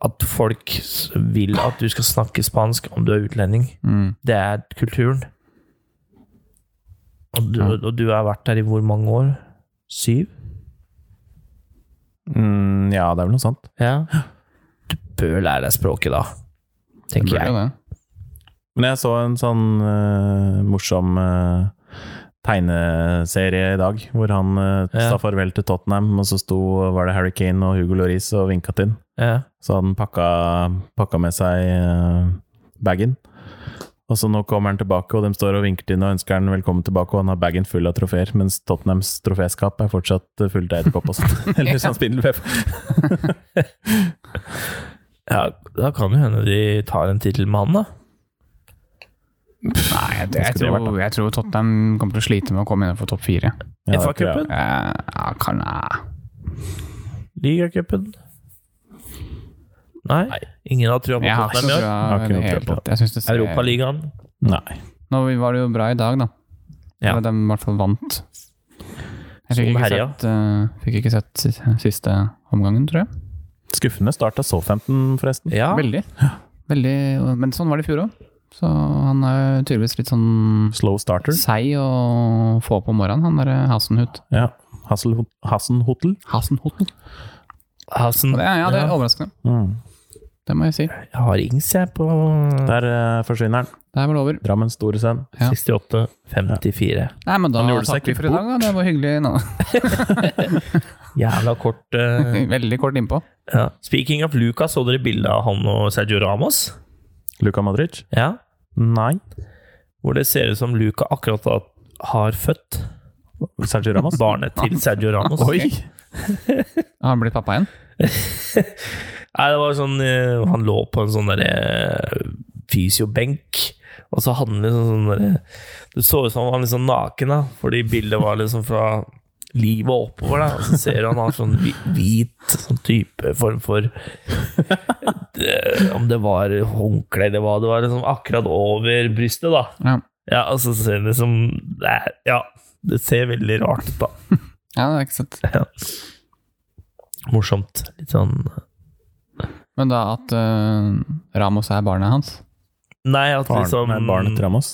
at folk s- vil at du skal snakke spansk om du er utlending
Mm.
Det er kulturen. Og du, og du har vært der i hvor mange år? Syv?
Mm, ja, det er vel noe sånt.
Ja. Du bør lære deg språket, da. Tenker
Burde
jeg.
jo det.
Men jeg så en sånn eh, morsom eh, tegneserie i dag, hvor han eh,
Ja.
sa farvel til Tottenham, og så sto, var det Harry Kane og Hugo Lloris og vinka til han.
Ja.
Så han pakka, pakka med seg eh, bagen. Og så nå kommer han tilbake, og de står og vinker til han og ønsker han velkommen tilbake, og han har bagen full av trofeer, mens Tottenhams troféskap er fortsatt eh, fullt av edderkopp og sånn. Eller sånn spindelvev.
ja, da kan det hende de tar en tittel med han, da.
Nei, jeg,
Hva
jeg,
skulle det vært,
tror, jeg tror Tottenham kommer til å slite med å komme innenfor topp fire.
Ja, det tror jeg.
FA-cupen?
Eh, ja, kan eh.
Ligacupen? Nei, ingen har trua på
Jeg har ikke
Tottenham i år.
Har
noe
ikke noe
bra
tro på
Jeg synes det ser-
Europaligaen.
Nei.
Nå var det jo bra i dag, da.
Ja.
Eller de i hvert fall vant. Jeg fikk
Som
ikke,
herja.
sett, eh, fikk ikke sett si- siste omgangen, tror jeg.
Skuffende start av So15, forresten.
Ja.
Veldig. Veldig. Men sånn var det i fjor òg. Så han er jo tydeligvis litt sånn
Slow starter.
seig å få på morgenen, han eh, derre Hasenhut.
Ja. Hassel- Hassenhotel.
Hasenhotel.
Hassen.
Og det, ja, det er
Ja.
overraskende.
Mm.
Det må jeg si.
Jeg har Ings, jeg, på
Der eh, forsvinner han.
Det er vel over.
Drammen Storesand.
Ja.
68-54.
Nei, men da
Han gjorde seg
takker vi
ikke
for i dag, da. Det var hyggelig. Nå.
Jævla kort. eh,
Veldig kort innpå.
ja. Speaking of Lucas, så dere bildet av han og Sergio Ramos?
Luka Modric?
Ja.
Nei.
Hvor det ser ut som Luca akkurat da har født
Sergio Ramos?
barnet til Sergio Ramos.
Oi!
Har han blitt pappa igjen?
Nei, det var sånn eh, Han lå på en sånn derre fysiobenk, og så hadde han liksom sånn derre Det så ut som han var liksom naken, da, fordi bildet var liksom fra livet og oppover, da. Og så ser du han har sånn hvi- hvit sånn type form for eh, Om det var håndkle eller hva det var, liksom akkurat over brystet, da.
Ja.
Ja, og så ser det som det er, Ja, det ser veldig rart ut, da.
ja, det er ikke sant.
Morsomt. Litt sånn
Men da at eh, Ramos er barnet hans
Nei, at
Barn,
liksom
nei, barnet til Ramos.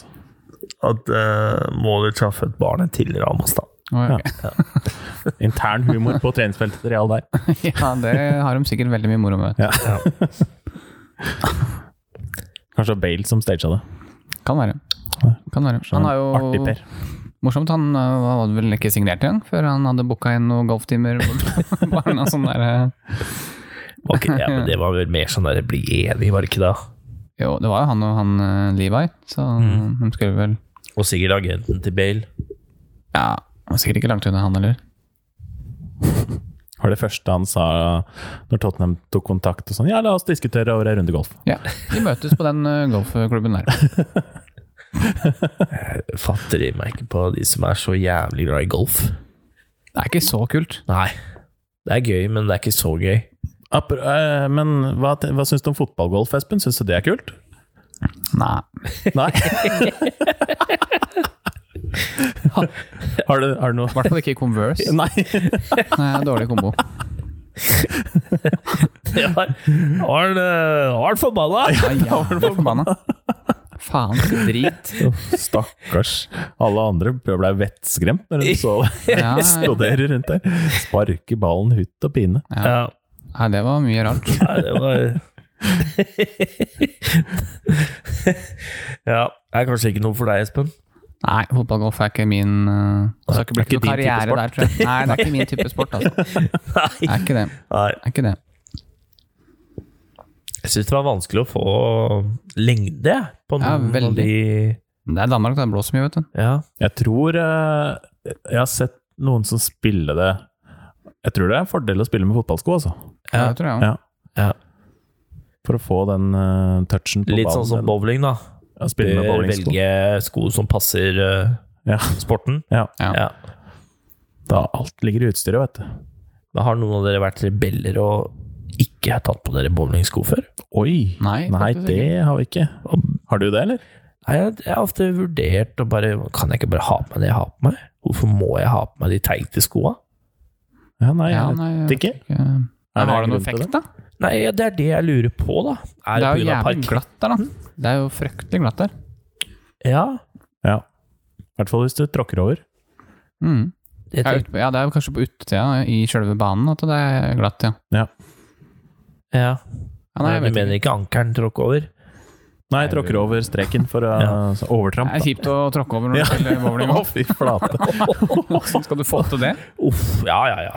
at uh, Målic har født barnet til Ramos, da.
Å, ja.
Intern humor på treningsfeltet til Real der.
ja, det har de sikkert veldig mye moro med.
Ja. Kanskje Bale som stagea det.
Kan være. Kan være. Han har jo
Sånn Artig Per.
Morsomt, han øh, var vel ikke signert igjen før han hadde booka inn noen golftimer. Bare noe sånn der, øh,
Ok, ja, men det var vel mer sånn der bli enig, var det ikke da?
jo, det var jo han og han øh, Levi, så
Mm.
de skulle vel
Og sikkert agenten til Bale.
Ja, han var sikkert ikke langt unna han heller.
Var det første han sa når Tottenham tok kontakt og sånn Ja, la oss diskutere over en runde golf.
Ja, De møtes på den øh, golfklubben der.
Jeg fatter i meg ikke på de som er så jævlig glad i golf.
Det er ikke så kult.
Nei. Det er gøy, men det er ikke så gøy.
Apro- eh, Men hva, te- hva syns du om fotballgolf, Espen? Syns du det er kult?
Nei.
Nei? har, du, har du
I
noe
hvert fall ikke i Converse.
Nei.
Nei, Dårlig kombo.
Det var var han, eh, var han forbanna?
Nei, ja, jeg blir forbanna. Faen, drit.
Stakkars. Alle andre ble vettskremt når de så
Ja, ja.
eksplodere rundt der. Sparke ballen hutt og pine.
Ja.
Nei, det var mye rart.
Nei, det var Ja. Det er kanskje ikke noe for deg, Espen.
Nei, fotballgolf er ikke min øh, Det skal ikke bli
Det er ikke din type
noe karriere der, tror jeg. Nei, det er ikke min type sport, altså. Det
Nei.
er ikke det.
Nei.
Det er ikke det.
Jeg syns det var vanskelig å få lengde på
Ja,
noen av
veldig.
de
Det er Danmark, det blåser mye, vet du.
Ja.
Jeg tror eh, Jeg har sett noen som spiller det Jeg tror det er en fordel å spille med fotballsko, altså.
Ja,
Ja.
det tror jeg
Ja.
også.
For å få den eh, touchen på
Litt sånn
ballen.
som bowling, da. Eh,
Ja, spille med bowlingsko.
Velge sko som passer eh,
Ja.
sporten.
Ja.
Ja.
Ja.
Da alt ligger i utstyret, vet du.
Da har noen av dere vært rebeller og ikke har tatt på dere bowlingsko før?
Oi!
Nei, faktisk
det har vi ikke. Har du det, eller?
Nei, jeg, jeg har ofte vurdert og bare Kan jeg ikke bare ha på meg det jeg har på meg? Hvorfor må jeg ha på meg de teite skoa?
Ja, nei, jeg
Ja, nei,
vet
jeg
ikke.
vet ikke. Men
en
har det noen
grunn til
effekt, da?
Nei, ja, det er det jeg lurer på, da. Er det
Det er jo
pga.
jævlig
parkett?
glatt der, da. Det er jo fryktelig glatt der.
Ja,
Ja. I hvert fall hvis du tråkker over.
Mm.
det
Ja,
tenk-
ut, ja, det er jo kanskje på utsida i sjølve banen at det er glatt, ja.
ja.
ja nei, jeg
du
vet
mener
ikke.
ikke ankelen tråkke over?
Nei, jeg tråkker over streken for å så
Det
overtramp.
er
da.
kjipt å tråkke over når du spiller bowling.
Å, fy flate.
Skal du få til det?
Uff, ja, ja, ja.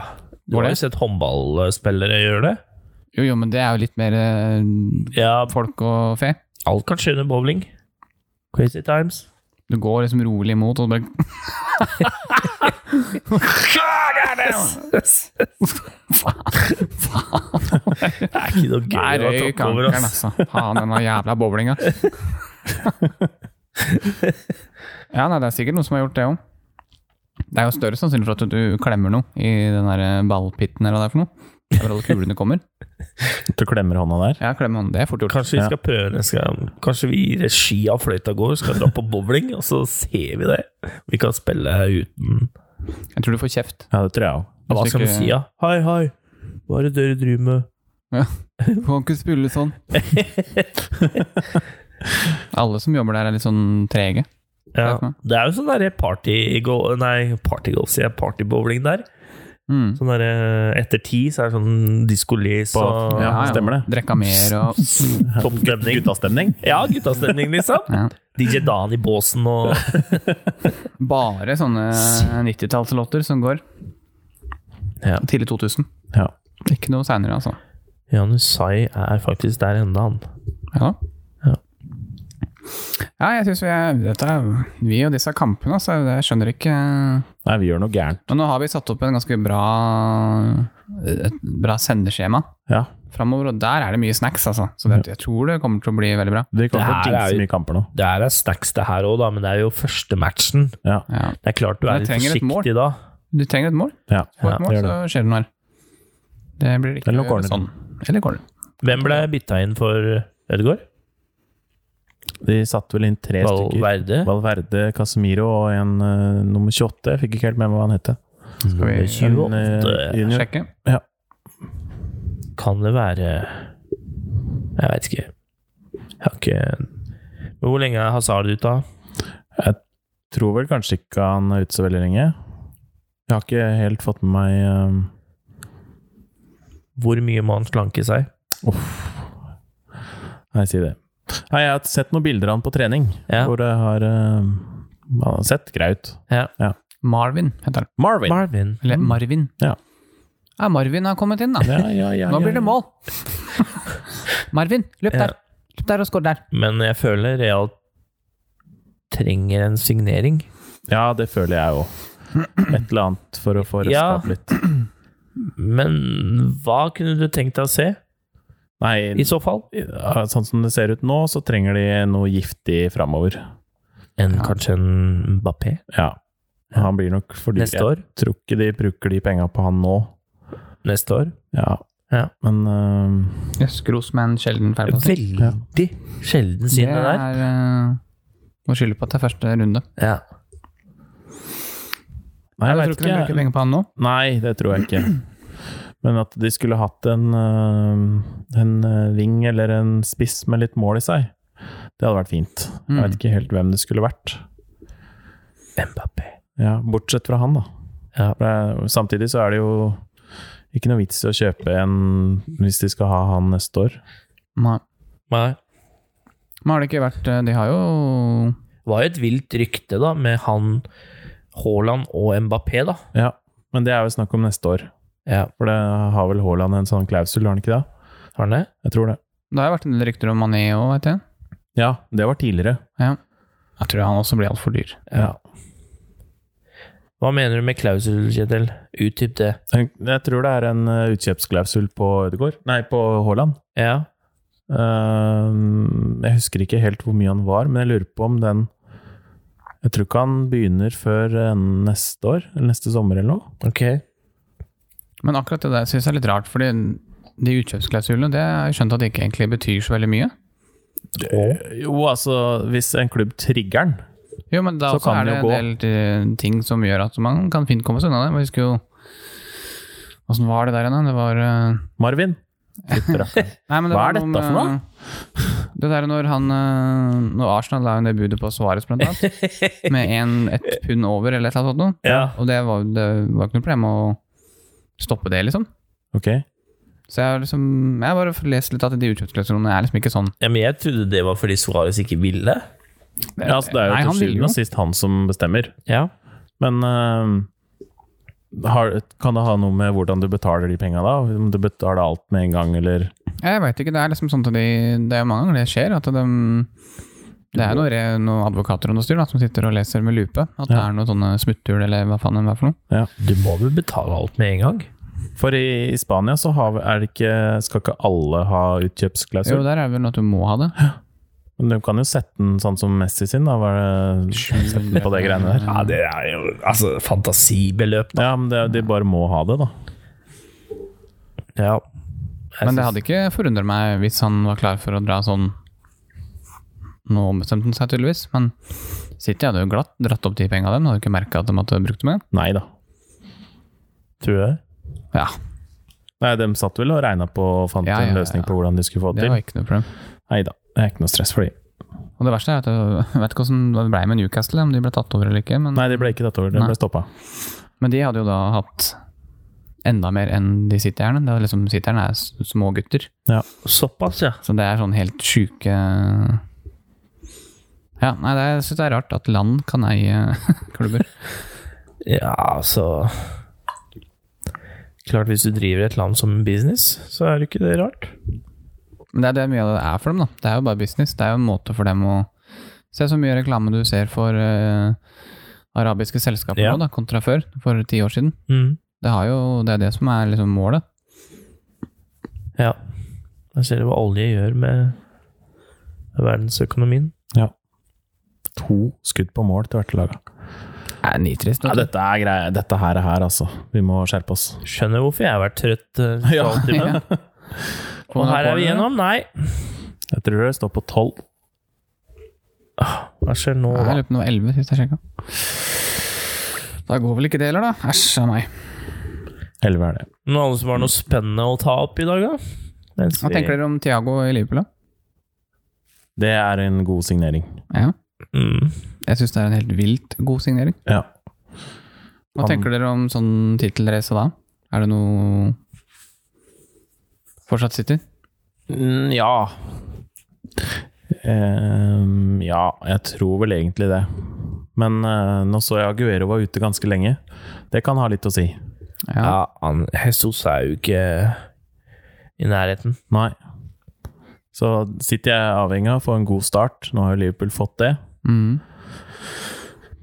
Du
Går
har
det?
jo sett håndballspillere gjøre det.
Jo, jo, men det er jo litt mer eh,
Ja,
folk og fe.
alt kan skje under bowling. Crazy times.
Du går liksom rolig imot, og så bare
Det er ikke noe
Nei,
gøy å
røyk
tråkke over,
ankelen,
ass.
altså. Faen, den jævla bowlinga. ja, nei, det er sikkert noen som har gjort det òg. Det er jo større sannsynlig for at du klemmer noe i den der eh, ballpitten eller hva det er for noe. Det er hvor alle kulene kommer.
Du klemmer hånda der.
Ja, klemme hånden. Det er fort gjort.
Kanskje vi skal prøve det, skal, Kanskje vi i regi av Fløyta går skal dra på bowling, og så ser vi det. Vi kan spille uten
Jeg tror du får kjeft.
Ja, det tror jeg òg.
Hva skal vi si, da? Hei, hei, hva er det dere driver med?
Du kan ikke spille sånn. Alle som jobber der, er litt sånn trege.
Ja, det er jo sånn derre partygolf Nei, partygolf, sier jeg. Partybowling der.
Mm.
Sånn derre etter ti, så er det sånn diskolys
På,
og
ja,
ja.
stemmer det.
Drekka mer og
toppstemning.
Guttastemning.
Ja, guttastemning, liksom.
ja.
DJ Dan i båsen og
Bare sånne 90-tallslåter som går.
Ja.
Tidlig 2000.
Ja.
Ikke noe seinere, altså.
Jan Usai er faktisk der enda, han.
Ja.
Ja.
Ja, jeg syns vi er dette er, Vi og disse kampene, altså. Jeg skjønner ikke Men
Nei, vi gjør noe gærent.
nå har vi satt opp en ganske bra et bra sendeskjema
Ja.
framover, og der er det mye snacks, altså. Så det, jeg tror det kommer til å bli veldig bra.
Vi kommer
Det
til å
her er
jinxe
jo-
mye kamper nå.
Det her er snacks, det her òg, da, men det er jo første matchen.
Ja.
Ja.
Det er klart du er
Men jeg
litt
trenger et mål.
forsiktig da.
Du trenger et mål.
Ja,
Får et
det
mål,
gjør
så
det.
skjer det noe her. Det blir ikke
Eller noe corner.
sånn. Eller corner.
Hvem ble bytta inn for Ødegaard?
De satte vel inn tre stykker.
Valverde?
Valverde, Casemiro og en eh, nummer 28. Jeg fikk ikke helt med meg hva han het.
Skal vi
En,
28.
eh, junior.
sjekke?
Kan det være Jeg veit ikke. Jeg har ikke Men Hvor lenge er Hazard ute, da?
Tror vel kanskje ikke han er ute så veldig lenge. Jeg har ikke helt fått med meg eh,
Hvor mye må han slanke seg?
Nei, si det. Nei, jeg har sett noen bilder av han på trening
Ja.
hvor det har eh, Han har sett grei ut.
Ja.
Marvin heter han.
Marvin!
Marvin.
Eller Marvin.
Mm. Ja.
ja, Marvin har kommet inn, da.
ja, ja, ja,
Nå
ja,
blir det
ja.
mål! Marvin, løp
Ja.
der. Løp der og skår der.
Men jeg føler Real trenger en signering.
Ja, det føler jeg òg. Et eller annet for å få
Ja.
redskap litt.
Men hva kunne du tenkt deg å se, i
Nei,
så fall?
ja, sånn som det ser ut nå, så trenger de noe giftig framover.
En, Kanskje en Mbappé
Ja. Han blir nok fordi
neste år?
Jeg tror ikke de bruker de penga på han nå.
Neste år?
Ja.
Ja.
Men eh, øhm,
Jøskros med en sjelden feilpass.
Veldig sjelden
Det
siden det der.
er eh, Må skylde på at det er første runde.
Ja.
Nei, jeg vet
Jeg tror ikke de
ikke.
bruker penger på han nå.
Nei, det tror jeg ikke. Men at de skulle hatt en, øh, en øh, ving eller en spiss med litt mål i seg, det hadde vært fint. Jeg
Mm.
Mm.
vet ikke helt hvem det skulle vært.
Mbappé.
Ja, bortsett fra han, da.
Ja.
For det, samtidig så er det jo ikke noe vits i å kjøpe en hvis de skal ha han neste år.
Nei.
Nei.
Men har det ikke vært eh, De har jo
Det var jo et vilt rykte, da, med han Haaland og Mbappé, da.
Ja, Men det er jo snakk om neste år,
Ja.
for det har vel Haaland en sånn klausul, har han ikke det?
Har han det?
Jeg tror det.
Det har jo vært en del rykter om Mané òg, vet jeg.
Ja, det var tidligere.
Jeg tror han også blir altfor dyr.
Ja.
Hva mener du med klausul, Kjetil? Utdyp det.
Jeg jeg tror det er en øh, utkjøpsklausul på Ødegaard Nei, på Haaland.
Ja.
Ehm, jeg husker ikke helt hvor mye han var, men jeg lurer på om den Jeg tror ikke han begynner før eh, neste år, eller neste sommer eller noe.
Ok.
Men akkurat det der syns jeg er litt rart, fordi de utkjøpsklausulene det har jeg skjønt at det ikke egentlig betyr så veldig mye.
Jo, altså, hvis en klubb trigger den
Jo, men da
Så
også
kan
er det
det jo
en del eh, ting som gjør at man kan fint komme seg unna det. Man husker jo Åssen var det der igjen? da? Det var eh,
Marvin? Litt rakkeren.
Nei, men det
Hva
var
er
noe
dette for noe?
med- Det der når han eh, Når Arsenal la jo ned budet på Svares, blant annet. Med en, et pund over, eller et eller annet sånt. noe.
Ja.
Og det var, det var ikke noe problem å stoppe det, liksom.
Ok.
Så jeg har liksom Jeg har bare lest litt at de utkjøpsklausulene er liksom ikke sånn.
Ja, men jeg trodde det var fordi Suárez ikke ville.
Ja, altså, det er jo
Nei, han
til
vil jo.
syvende og sist han som bestemmer.
Ja.
Men eh, har, kan det ha noe med hvordan du betaler de penga, da? Om du betaler alt med en gang, eller
Ja, Jeg veit ikke. Det er liksom sånn at de, det er jo mange ganger det skjer. At de, det er noen, re- noen advokater og noe styr da, som sitter og leser med lupe. At det
Ja.
er noen sånne smutthull eller hva faen det er for noe.
ja.
Du må vel betale alt med en gang?
For i, i Spania så har, vi- er det ikke, skal ikke alle ha
Jo,
utkjøpsklausul.
der er vel noe at du må ha det.
Men du kan jo sette den sånn som Messi sin, da. Var det sette den på det greiene der?
Ja, det er jo altså fantasibeløp,
Ja, men det, de bare må ha det, da.
Ja. Altså, Jeg
Men det
synes-
hadde ikke forundret meg hvis han var klar for å dra sånn Nå ombestemte han seg tydeligvis, men City hadde jo glatt dratt opp de penga dem. Hadde ikke merka at de hadde brukt dem igjen.
Nei da.
Tror du det?
Ja,
Nei, de satt vel og regna på og fant
Ja, ja,
en løsning på hvordan de skulle få det
det var
til.
ikke noe problem.
Nei da, det er ikke noe stress for de.
Og det verste er at jeg vet ikke hvordan det ble med Newcastle, om de ble tatt over eller ikke. Men
Nei, det ble ikke dette året. Det
Nei.
ble stoppa.
Men de hadde jo da hatt enda mer enn de sitterne. Det er liksom sitterne er s- små gutter.
Såpass, ja.
Så det er sånn helt sjuke Ja, nei, det, er- jeg syns det er rart at land kan eie klubber.
Ja, altså Klart, hvis du driver et land som en business, så er det ikke det rart.
Men det er det mye av det er for dem, da. Det er jo bare business. Det er jo en måte for dem å Se så mye reklame du ser for eh, arabiske selskaper
Ja.
nå, da, kontra før, for ti år siden.
Mm.
Det, har jo, det er det som er liksom målet.
Ja. Jeg ser hva olje gjør med verdensøkonomien.
To skudd på mål til hvert lag.
Det er nitrist.
Ja,
vet du.
dette er greie. Dette her er her, altså. Vi må skjerpe oss.
Skjønner hvorfor jeg har vært trøtt. eh,
Ja,
fra timen.
ja.
Og her er vi
igjennom
gjennom? Nei.
Jeg tror det står på tolv.
Hva skjer nå?
Jeg
da?
lurer på om det var 11 sist jeg sjekka. Da går vel ikke det heller, da. Æsj av meg.
Elleve er det.
Noen andre som har noe spennende å ta opp i dag, da? Mens
Hva
vi-
tenker dere om Tiago i Liverpool, da?
Det er en god signering.
Ja.
Mm.
Jeg syns det er en helt vilt god signering.
Ja.
Hva
Han-
tenker dere om sånn tittelrace da? Er det noe Fortsatt City?
Mm, ja. Ehm, ja, jeg tror vel egentlig det. Men eh, nå så jeg Aguero var ute ganske lenge. Det kan ha litt å si.
Ja.
Ja, han, Jesus er jo ikke i nærheten.
Nei. Så sitter jeg avhengig av å få en god start. Nå har jo Liverpool fått det.
Mm.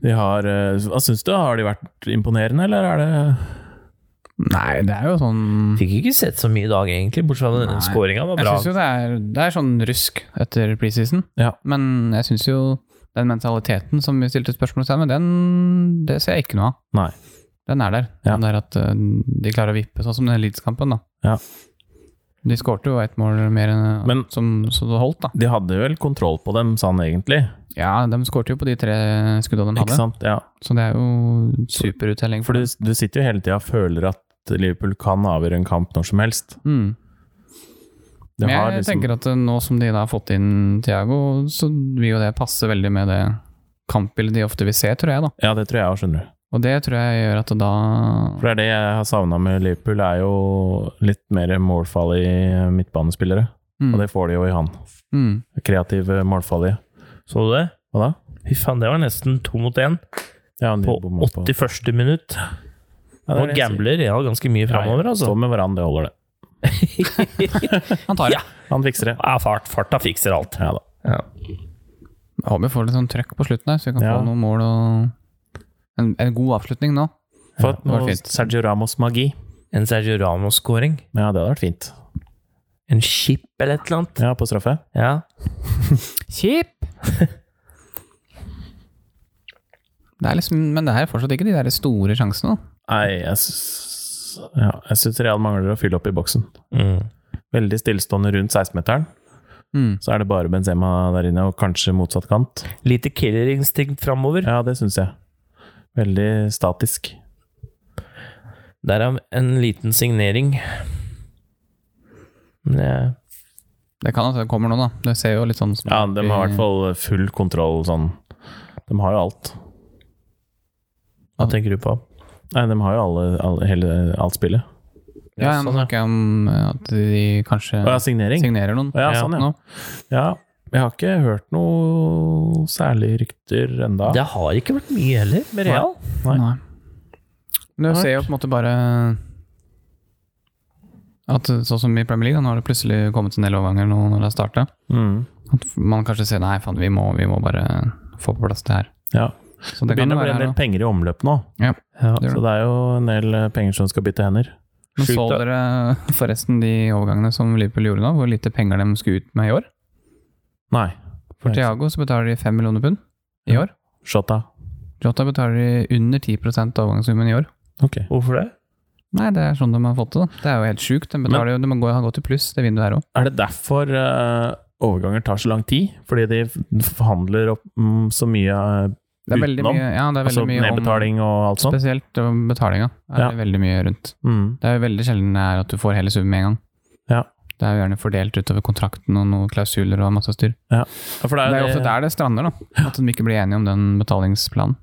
De har, eh, hva syns du? Har de vært imponerende, eller er det
Nei, det er jo sånn
Fikk ikke sett så mye i dag, egentlig, bortsett fra
Nei.
den skåringa var
Jeg
bra.
syns jo det er, det er sånn rusk etter preseason,
Ja.
men jeg syns jo den mentaliteten som vi stilte spørsmålstegn ved, den det ser jeg ikke noe av.
Nei.
Den er der.
Ja.
Den der at eh, de klarer å vippe, sånn som den Leeds-kampen, da.
Ja.
De skårte jo ett mål mer enn
Men-
som, så det holdt, da.
De hadde vel kontroll på dem, sånn egentlig.
Ja, de skårte jo på de tre skuddene de
Ikke
hadde,
sant? Ja.
så det er jo superuttelling.
For du, du sitter jo hele tida og føler at Liverpool kan avgjøre en kamp når som helst.
mm.
Det
Men
har
jeg
liksom-
tenker at eh, nå som de da har fått inn Thiago, så vil jo det passe veldig med det kampbildet de ofte vil se, tror jeg. da.
Ja, det tror jeg òg, skjønner du.
Og det tror jeg gjør at da
For det er det jeg har savna med Liverpool, er jo litt mer målfarlige midtbanespillere.
mm,
Og det får de jo i han.
mm.
Kreative, målfarlige.
Så du det?
Hva da?
Fy faen, det var nesten to mot én
Ja, han
på
bommer
81. minutt.
Ja, det er
Og
det jeg sier.
gambler ja, ganske mye framover,
Ja, ja.
altså.
Stå med hverandre, det holder det.
Han tar det.
Ja.
Han fikser det.
Ja, fart, farta fikser alt.
Ja da.
Ja.
Jeg Håper vi får litt sånn trøkk på slutten her, så vi kan
Ja.
få noen mål og en, en god avslutning nå.
Fått
det var
noe
fint.
Sergio Ramos-magi.
En Sergio Ramos-skåring.
Ja, det hadde vært fint.
En chip eller et eller annet.
Ja, på straffe.
Ja.
Kjip! det er liksom, men det her er fortsatt ikke de der store sjansene. da.
Nei, jeg syns ja, jeg syns Real mangler å fylle opp i boksen.
Mm.
Veldig stillestående rundt 16-meteren.
Mm.
Så er det bare Benzema der inne, og kanskje motsatt kant.
Lite killerinstinkt framover.
Ja, det syns jeg. Veldig statisk.
Derav en liten signering. Men jeg
Det kan at det kommer nå, da. Det ser jo litt sånn
Ja, de har i hvert fall full kontroll sånn. De har jo alt.
Hva tenker du på?
Nei, de har jo alle, alle, hele, alt spillet.
Ja, nå
Sånn,
snakker jeg om eh, at de kanskje
Å ja, signering.
signerer noen.
Å ja, sånn, ja.
nå.
Ja, jeg har ikke hørt noe særlig rykter enda.
Det har ikke vært mye heller med Real.
Nei.
Nei. Men
Nei.
du ser jo på en måte bare at sånn som i Premier League, da, nå har det plutselig kommet en del overganger nå når det har starta.
Mm.
At man kanskje ser nei, faen, vi må, vi må bare få på plass det her.
Ja.
Så
Det
det kan
begynner
jo
å bli
være
en
her
del
nå.
penger i omløp nå.
Ja.
Ja,
det gjør
så det er jo en del eh, penger som skal bytte hender.
Men
Sjukt,
så
da.
dere forresten de overgangene som Liverpool gjorde da, hvor lite penger de skulle ut med i år?
Nei.
For
Nei,
Thiago så betaler de 5 millioner pund i år.
Shota.
Jota betaler de under 10 av overgangssummen i år.
Ok.
Hvorfor det?
Nei, det er sånn de har fått det. da. Det er jo helt sjukt. De betaler jo, de må gå, ha gått i pluss det vinduet her òg.
Er det derfor eh, overganger tar så lang tid? Fordi de forhandler opp mm, så mye eh,
Det er veldig
Utenom?
mye, ja, det er veldig
altså,
mye om
nedbetaling og alt sånt?
Spesielt om betalinga. Det er
Ja.
det veldig mye rundt.
Mm.
Det er jo veldig sjelden det er at du får hele summen med en gang.
Ja.
Det er jo gjerne fordelt utover kontrakten og noen klausuler og masse styr.
Ja, for det er
Det er jo
jo
ofte der det strander, da. At de ikke blir enige om den betalingsplanen.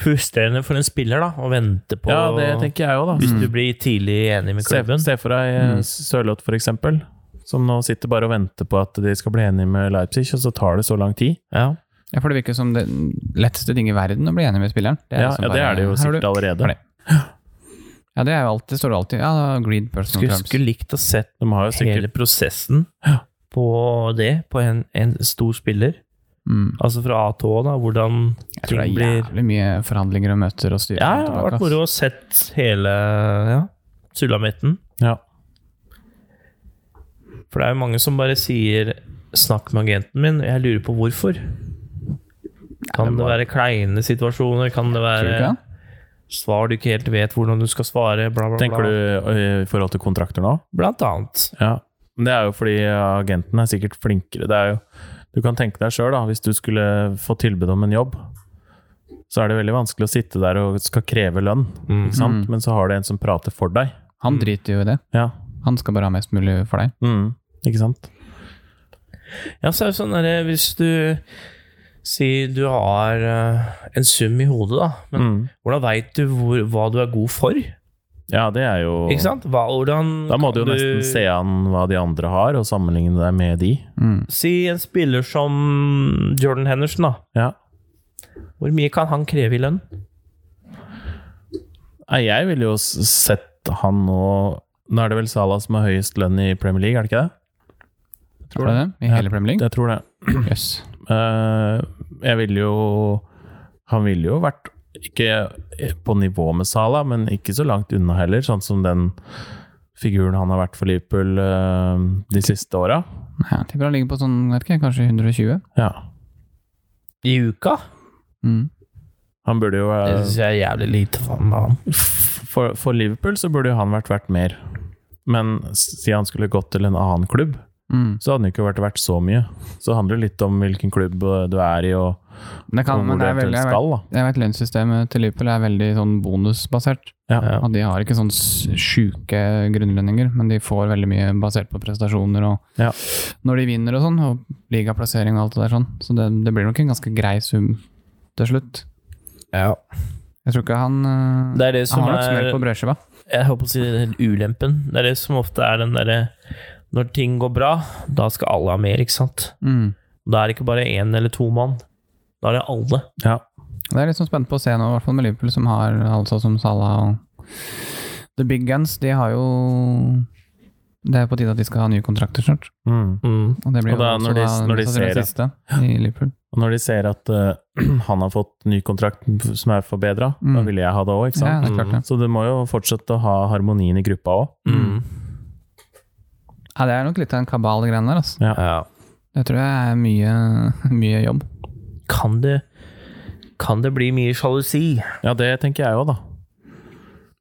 Frustrerende for en spiller da, å vente på
Ja, det tenker jeg òg, da.
Hvis du
Mm.
blir tidlig enig med
Se,
klubben.
se for deg
Mm.
eh, Sørloth, for eksempel. Som nå sitter bare og venter på at de skal bli enige med Leipzig, og så tar det så lang tid.
Ja.
Ja, for det virker som det letteste ting i verden å bli enig med spilleren.
Ja,
liksom
ja, det
bare,
er det jo
her har du-
sikkert allerede.
Har det. Ja, det er jo alltid, står det alltid. Ja, da, agreed personal
Skulle,
terms.
skulle likt å sett
De har jo
hele
sikkert
prosessen på det, på en, en stor spiller.
Mm.
Altså fra A til Å, da, hvordan
Jeg tror det
ting
er
blir
jævlig mye forhandlinger og møter og styr.
Ja,
frem
det
og
har
tilbake,
vært
ass.
moro å sett hele ja, sulamitten.
Ja.
For det er jo mange som bare sier 'snakk med agenten min', jeg lurer på hvorfor. Kan det være kleine situasjoner? Kan det
Tror du ikke
være
det?
svar du ikke helt vet hvordan du skal svare? Bla, bla,
Tenker
bla.
du eh, i forhold til kontrakter nå?
Blant annet.
Ja, men det er jo fordi agenten er sikkert flinkere. Det er jo, du kan tenke deg sjøl, hvis du skulle få tilbud om en jobb, så er det veldig vanskelig å sitte der og skal kreve lønn,
Mm.
ikke sant? men så har du en som prater for deg.
Han driter jo i det.
Ja,
Han skal bare ha mest mulig for deg.
mm. ikke sant?
Ja, så er det sånn derre Hvis du sier du har eh, en sum i hodet, da, men
Mm.
hvordan veit du hvor, hva du er god for?
Ja, det er jo
Ikke sant? Hva, hvordan
Da må du jo
kan
nesten se an hva de andre har, og sammenligne deg med de.
Mm.
Si en spiller som Jordan Henderson, da.
Ja.
Hvor mye kan han kreve i lønn?
Nei, jeg ville jo s- sett han nå Nå er det vel Salah som har høyest lønn i Premier League, er det ikke det?
Tror du det? I hele Premier League?
Jeg tror det.
Jøss.
Eh, jeg ville jo Han ville jo vært ikke på nivå med Salah, men ikke så langt unna heller, sånn som den figuren han har vært for Liverpool eh, de siste åra.
Nei, Jeg tipper han ligger på sånn, vet ikke, kanskje 120?
Ja.
I uka?
Mm.
Han burde jo
Det
eh,
syns jeg er jævlig lite for han.
for, for Liverpool så burde jo han vært verdt mer. Men siden han skulle gått til en annen klubb,
Mm.
så hadde han jo ikke vært verdt så mye. Så det handler jo litt om hvilken klubb eh, du er i, og,
Det kan,
og hvor
men
du
det er
eventuelt
veldig, jeg vet-
skal. Da.
jeg vet lønnssystemet til Liverpool er veldig sånn bonusbasert.
Ja.
Og de har ikke sånn s- sjuke grunnlønninger, men de får veldig mye basert på prestasjoner og
Ja.
når de vinner og sånn, og ligaplassering og alt det der sånn. Så det, det blir nok en ganske grei sum til slutt.
Ja.
Jeg tror ikke han øh,
Det er det som
Han har nok
er
smør på brødskiva.
Jeg håper å si den ulempen. Det er det som ofte er den derre Når ting går bra, da skal alle ha mer, ikke sant?
Mm.
Da er det ikke bare én eller to mann. Da er det alle.
Ja.
Det er litt sånn spent på å se nå, i hvert fall med Liverpool, som har altså som Salah og The Big Guns. De har jo Det er på tide at de skal ha nye kontrakter snart.
Mm.
Mm.
Og det blir
Og da
jo også
når de-
da
når de
mest sannsynlig
ser
siste i Liverpool.
Og når de ser at eh, han har fått ny kontrakt som er forbedra,
Mm.
da ville jeg ha det òg, ikke
Ja,
sant? Mm.
det er klart det.
Så du må jo fortsette å ha harmonien i gruppa òg.
Mm.
Ja, det er nok litt av en kabal greiene der, altså.
Ja.
Det tror jeg er mye, mye jobb.
Kan det Kan det bli mye sjalusi?
Ja, det tenker jeg òg, da.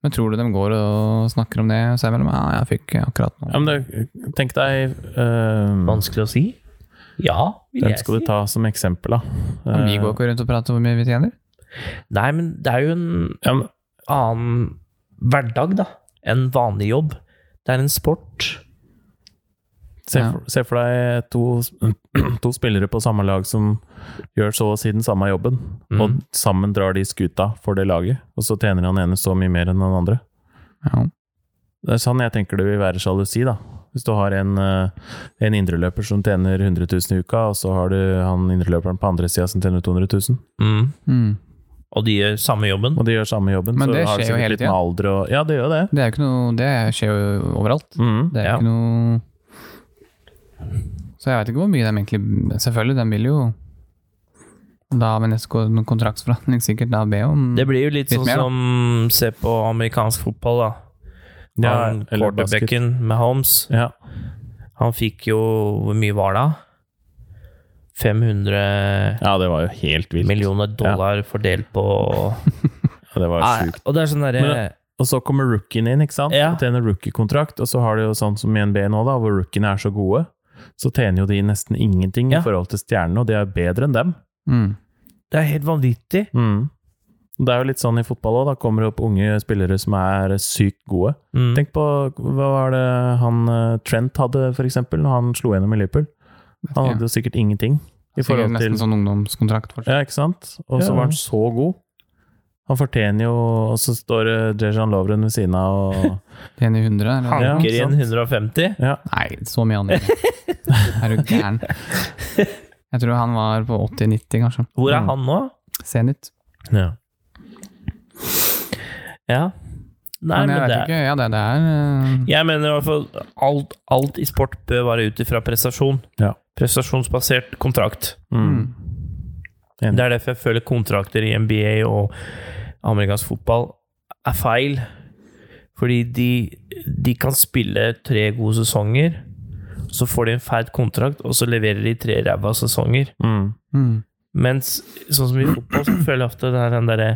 Men tror du de går og snakker om det seg imellom? Ja, jeg fikk akkurat
Ja,
nå.
men det, tenk deg eh,
Vanskelig å si? Ja, vil
Hvem
jeg
skal
si.
du ta som eksempel, da?
Men
Eh,
vi går ikke rundt og prater om hvor mye vi tjener.
Nei, men det er jo en
ja, men,
annen hverdag, da, enn vanlig jobb. Det er en sport.
Se,
Ja.
for, se for deg to, to spillere på samme lag som gjør så å si den samme jobben,
Mm.
og sammen drar de skuta for det laget, og så tjener han ene så mye mer enn den andre.
Ja.
Det er sånn jeg tenker det vil være sjalusi, da. Hvis du har en, eh, en indreløper som tjener 100 000 i uka, og så har du han indreløperen på andre sida som tjener 200 000,
Mm.
Og de gjør samme jobben.
og de gjør samme jobben,
Men
så
det
har det
skjer jo
sikkert
hele
litt med alder og Ja, det gjør jo det.
Det, er jo ikke noe, det skjer jo overalt.
Mm.
Det er
Ja.
ikke noe Så jeg veit ikke hvor mye de egentlig Selvfølgelig, de vil jo da med neste kon- kontraktsforhandling sikkert da be om
Det blir jo litt,
Litt
sånn
mer, da.
som se på amerikansk fotball, da.
Ja,
Han
eller basket.
quarterbacken med Holmes,
Ja.
han fikk jo Hvor mye var det? 500
ja, det var jo helt vilt.
millioner dollar fordelt på
Ja, Det var
Nei,
sjukt.
Og det er sånn derre
Men- Og så kommer rookien inn, ikke sant?
Ja.
Og tjener rookiekontrakt. Og så har du jo sånn som i NBA nå, da, hvor rookiene er så gode. Så tjener jo de nesten ingenting
Ja.
i forhold til stjernene, og de er bedre enn dem. Mm.
mm.
Det er helt vanvittig.
Og Det er jo litt sånn i fotball òg. Da kommer det opp unge spillere som er sykt gode.
Mm.
Tenk på hva var det han eh, Trent hadde, for eksempel, når han slo gjennom i Liverpool.
Vet
Han
ikke.
hadde jo sikkert ingenting. I
Sikkert
forhold til
Nesten sånn ungdomskontrakt. fortsatt.
Ja, ikke sant? Og så
Ja.
var han så god. Han fortjener jo Og så står det Dejan Lovren ved siden av og
Tjene 100, eller?
Ja,
Hanker
sant.
inn 150.
Ja.
Nei, så mye annet. Er du gæren? Jeg tror han var på 80-90, kanskje.
Hvor
Mm.
er han nå?
Senit.
ja.
Ja. Nei,
men jeg
men
vet
det
ikke. Ja, det, det er øh,
Jeg mener i hvert fall alt, alt i sport bør være ut ifra prestasjon.
Ja.
Prestasjonsbasert kontrakt.
Mm.
mm.
Enig.
Det er derfor jeg føler kontrakter i NBA og amerikansk fotball er feil. Fordi de, de kan spille tre gode sesonger, så får de en feit kontrakt, og så leverer de tre ræva sesonger.
Mm.
Mm.
Mens sånn som i fotball, så føler jeg ofte det er den derre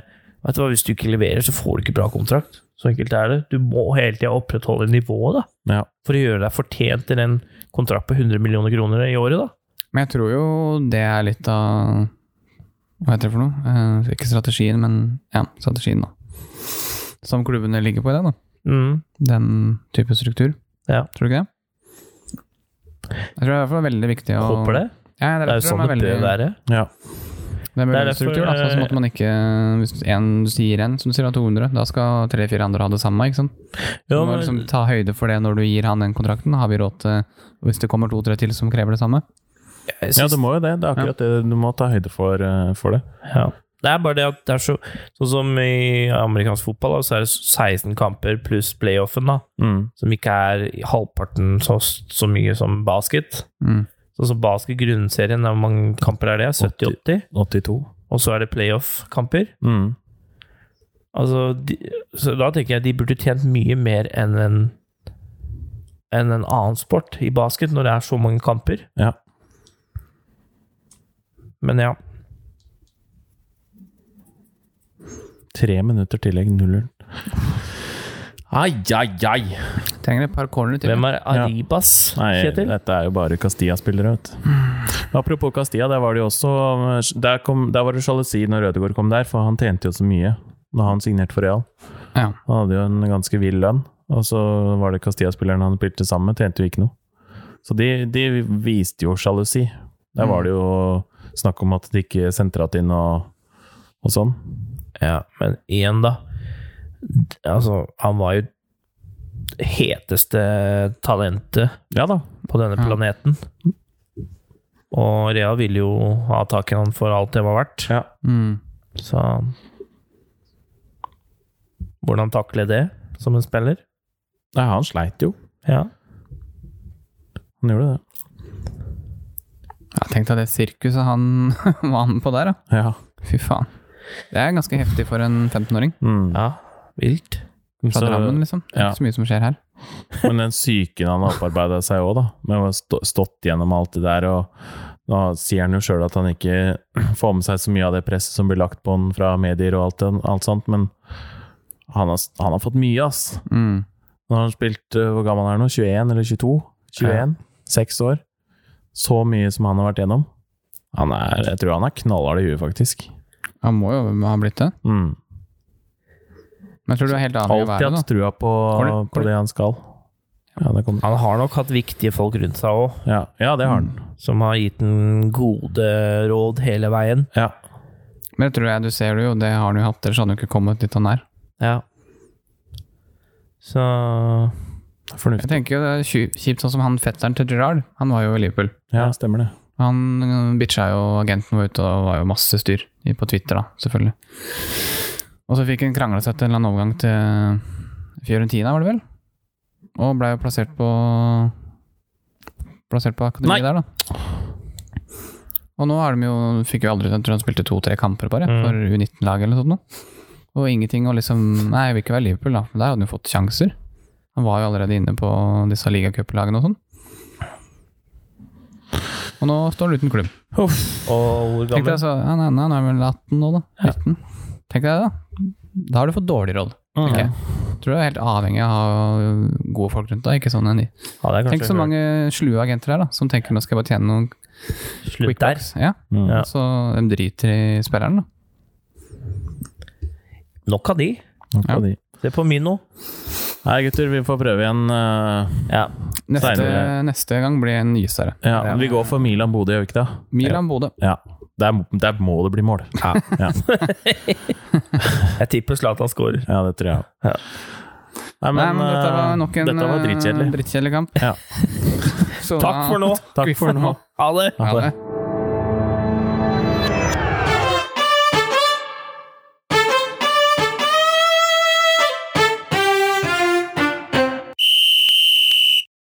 Vet du hva, hvis du ikke leverer, så får du ikke bra kontrakt. Så enkelt er det. Du må hele tida opprettholde nivået, da
Ja.
for å gjøre deg fortjent til en kontrakt på 100 millioner kroner i året, da.
Men jeg tror jo det er litt av Hva heter det for noe? Eh, ikke strategien, men ja, strategien, da. Som klubbene ligger på i dag, da.
Mm.
Den type struktur.
Ja.
Tror du ikke det? Jeg tror i hvert fall det er veldig viktig å
Håper det.
Ja, det,
Det er jo sånn det
veldig,
bør være.
ja.
Det er
derfor,
belønningsstruktur, da. Sånn som at man ikke Hvis en, du sier en som du sier har 200, da skal tre-fire andre ha det samme, ikke sant? Du
Ja,
må
men,
liksom ta høyde for det når du gir han den kontrakten. Har vi råd til og Hvis det kommer to-tre til som krever det samme?
jeg
Ja,
synes-
du må jo det. Det er akkurat det. Du må ta høyde for, eh, for det.
Ja. Det er bare det at det er så Sånn som i amerikansk fotball, da, så er det 16 kamper pluss playoffen, da.
Mm.
Som ikke er i halvparten så, så mye som basket.
Mm.
Sånn som basket grunnserien, hvor mange kamper er det? 70-80?
82.
Og så er det playoff-kamper.
Mm.
Altså, de, så da tenker jeg de burde tjent mye mer enn en, enn en annen sport i basket, når det er så mange kamper.
Ja.
Men ja.
Tre minutter tillegg, nulleren. Ai, ai, ai!
Trenger et par corner til.
Hvem er Aribas,
Nei,
Kjetil?
dette er jo bare Castilla-spillere, vet du. Men Apropos Castilla, der var det jo også eh, Der, kom, der var det sjalusi når Rødegård kom der, for han tjente jo så mye når han signerte for Real.
Ja.
Han hadde jo en ganske vill lønn, og så var det Castilla-spilleren han spilte sammen med, tjente jo ikke noe. Så de, de viste jo sjalusi. Der var det jo snakk om at de ikke sentret inn og, og sånn.
Ja, men igjen, da. Altså, han var jo det heteste talentet
Ja da.
på denne planeten. Og Rea ville jo ha tak i han for alt det var verdt,
Ja.
Mm.
så Hvordan takle det som en spiller?
Nei, han sleit jo.
Ja.
Han gjorde det.
Jeg tenkte at det sirkuset han var med på der, da.
Ja.
Fy faen. Det er ganske heftig for en 15-åring.
Mm.
ja. Vilt.
Så-
Fra Drammen, liksom. Det er
ja.
ikke så mye som skjer her.
Men den psyken han opparbeida seg òg, da, med å ha stå- stått gjennom alt det der, og da sier han jo sjøl at han ikke får med seg så mye av det presset som blir lagt på han fra medier og alt, den- alt sånt, men han har, han har fått mye, ass.
Mm.
Når han har spilt eh, Hvor gammel er han nå? 21 eller 22? 21? Seks år? Så mye som han har vært gjennom. Han er, jeg tror han er knallhard i huet, faktisk.
Han må jo ha blitt det.
Mm.
Men jeg tror du er helt avhengig av å
Alltid
være det,
hatt trua på,
Kommer det-
på
kommer det?
det han skal. Ja, det kommer.
Han har nok hatt viktige folk rundt seg òg,
Ja, ja det har han.
som har gitt ham gode råd hele veien.
Ja.
da. Men det tror jeg du ser det jo, det har han jo hatt, ellers hadde han jo ikke kommet dit han er.
Ja. Så
Jeg
Fornuftig.
tenker jo det er kju- kjipt, sånn som han fetteren til Gerrard. Han var jo i Liverpool.
Ja, stemmer det.
Han øh, bitcha jo agenten vår ute, og det var jo masse styr i- på Twitter, da, selvfølgelig. Og så fikk han krangla seg til en eller annen overgang til Fiorentina, var det vel? Og blei jo plassert på Plassert på akademiet
Nei.
der, da. Og nå har de jo, fikk jo aldri Jeg tror han spilte to-tre kamper bare,
Mm.
for U19-laget eller noe sånt. noe. Og ingenting å liksom Nei, jeg vil ikke være Liverpool, da. Men der hadde han jo fått sjanser. Han var jo allerede inne på disse ligacuplagene og sånn. Og nå står han uten klubb.
Og hvor
Tenk
gammel
deg så, ja, nei, nei, nå er han vel 18 nå, da. 19. Tenk deg det, da. Da har du fått dårlig råd.
Mm.
tenker jeg. Tror du er helt avhengig av å ha gode folk rundt deg. ikke sånn en
Ja, det er
Tenk
kanskje
så mange slue agenter her da, som tenker nå skal jeg bare tjene noen
Slutt der.
bucks. Ja,
Mm.
Ja.
Så de driter i spilleren, da.
Nok av de.
Nok av
Ja.
de.
Se på Mino.
Nei, gutter, vi får prøve igjen. eh,
Ja.
Neste,
Seinere.
neste gang blir en gysere.
ja, Vi går for Milan-Bodø, gjør vi ikke det?
Milan-Bodø.
Ja. Der, der må det bli mål. Ja. ja.
Jeg tipper Zlatan scorer.
det tror jeg.
Ja.
Nei, men,
Nei, men dette var
eh,
nok en
dette var
eh,
drittkjedelig.
drittkjedelig kamp.
Ja.
Så
Takk
da-
for nå.
Takk for nå.
Ha det.
Ha det.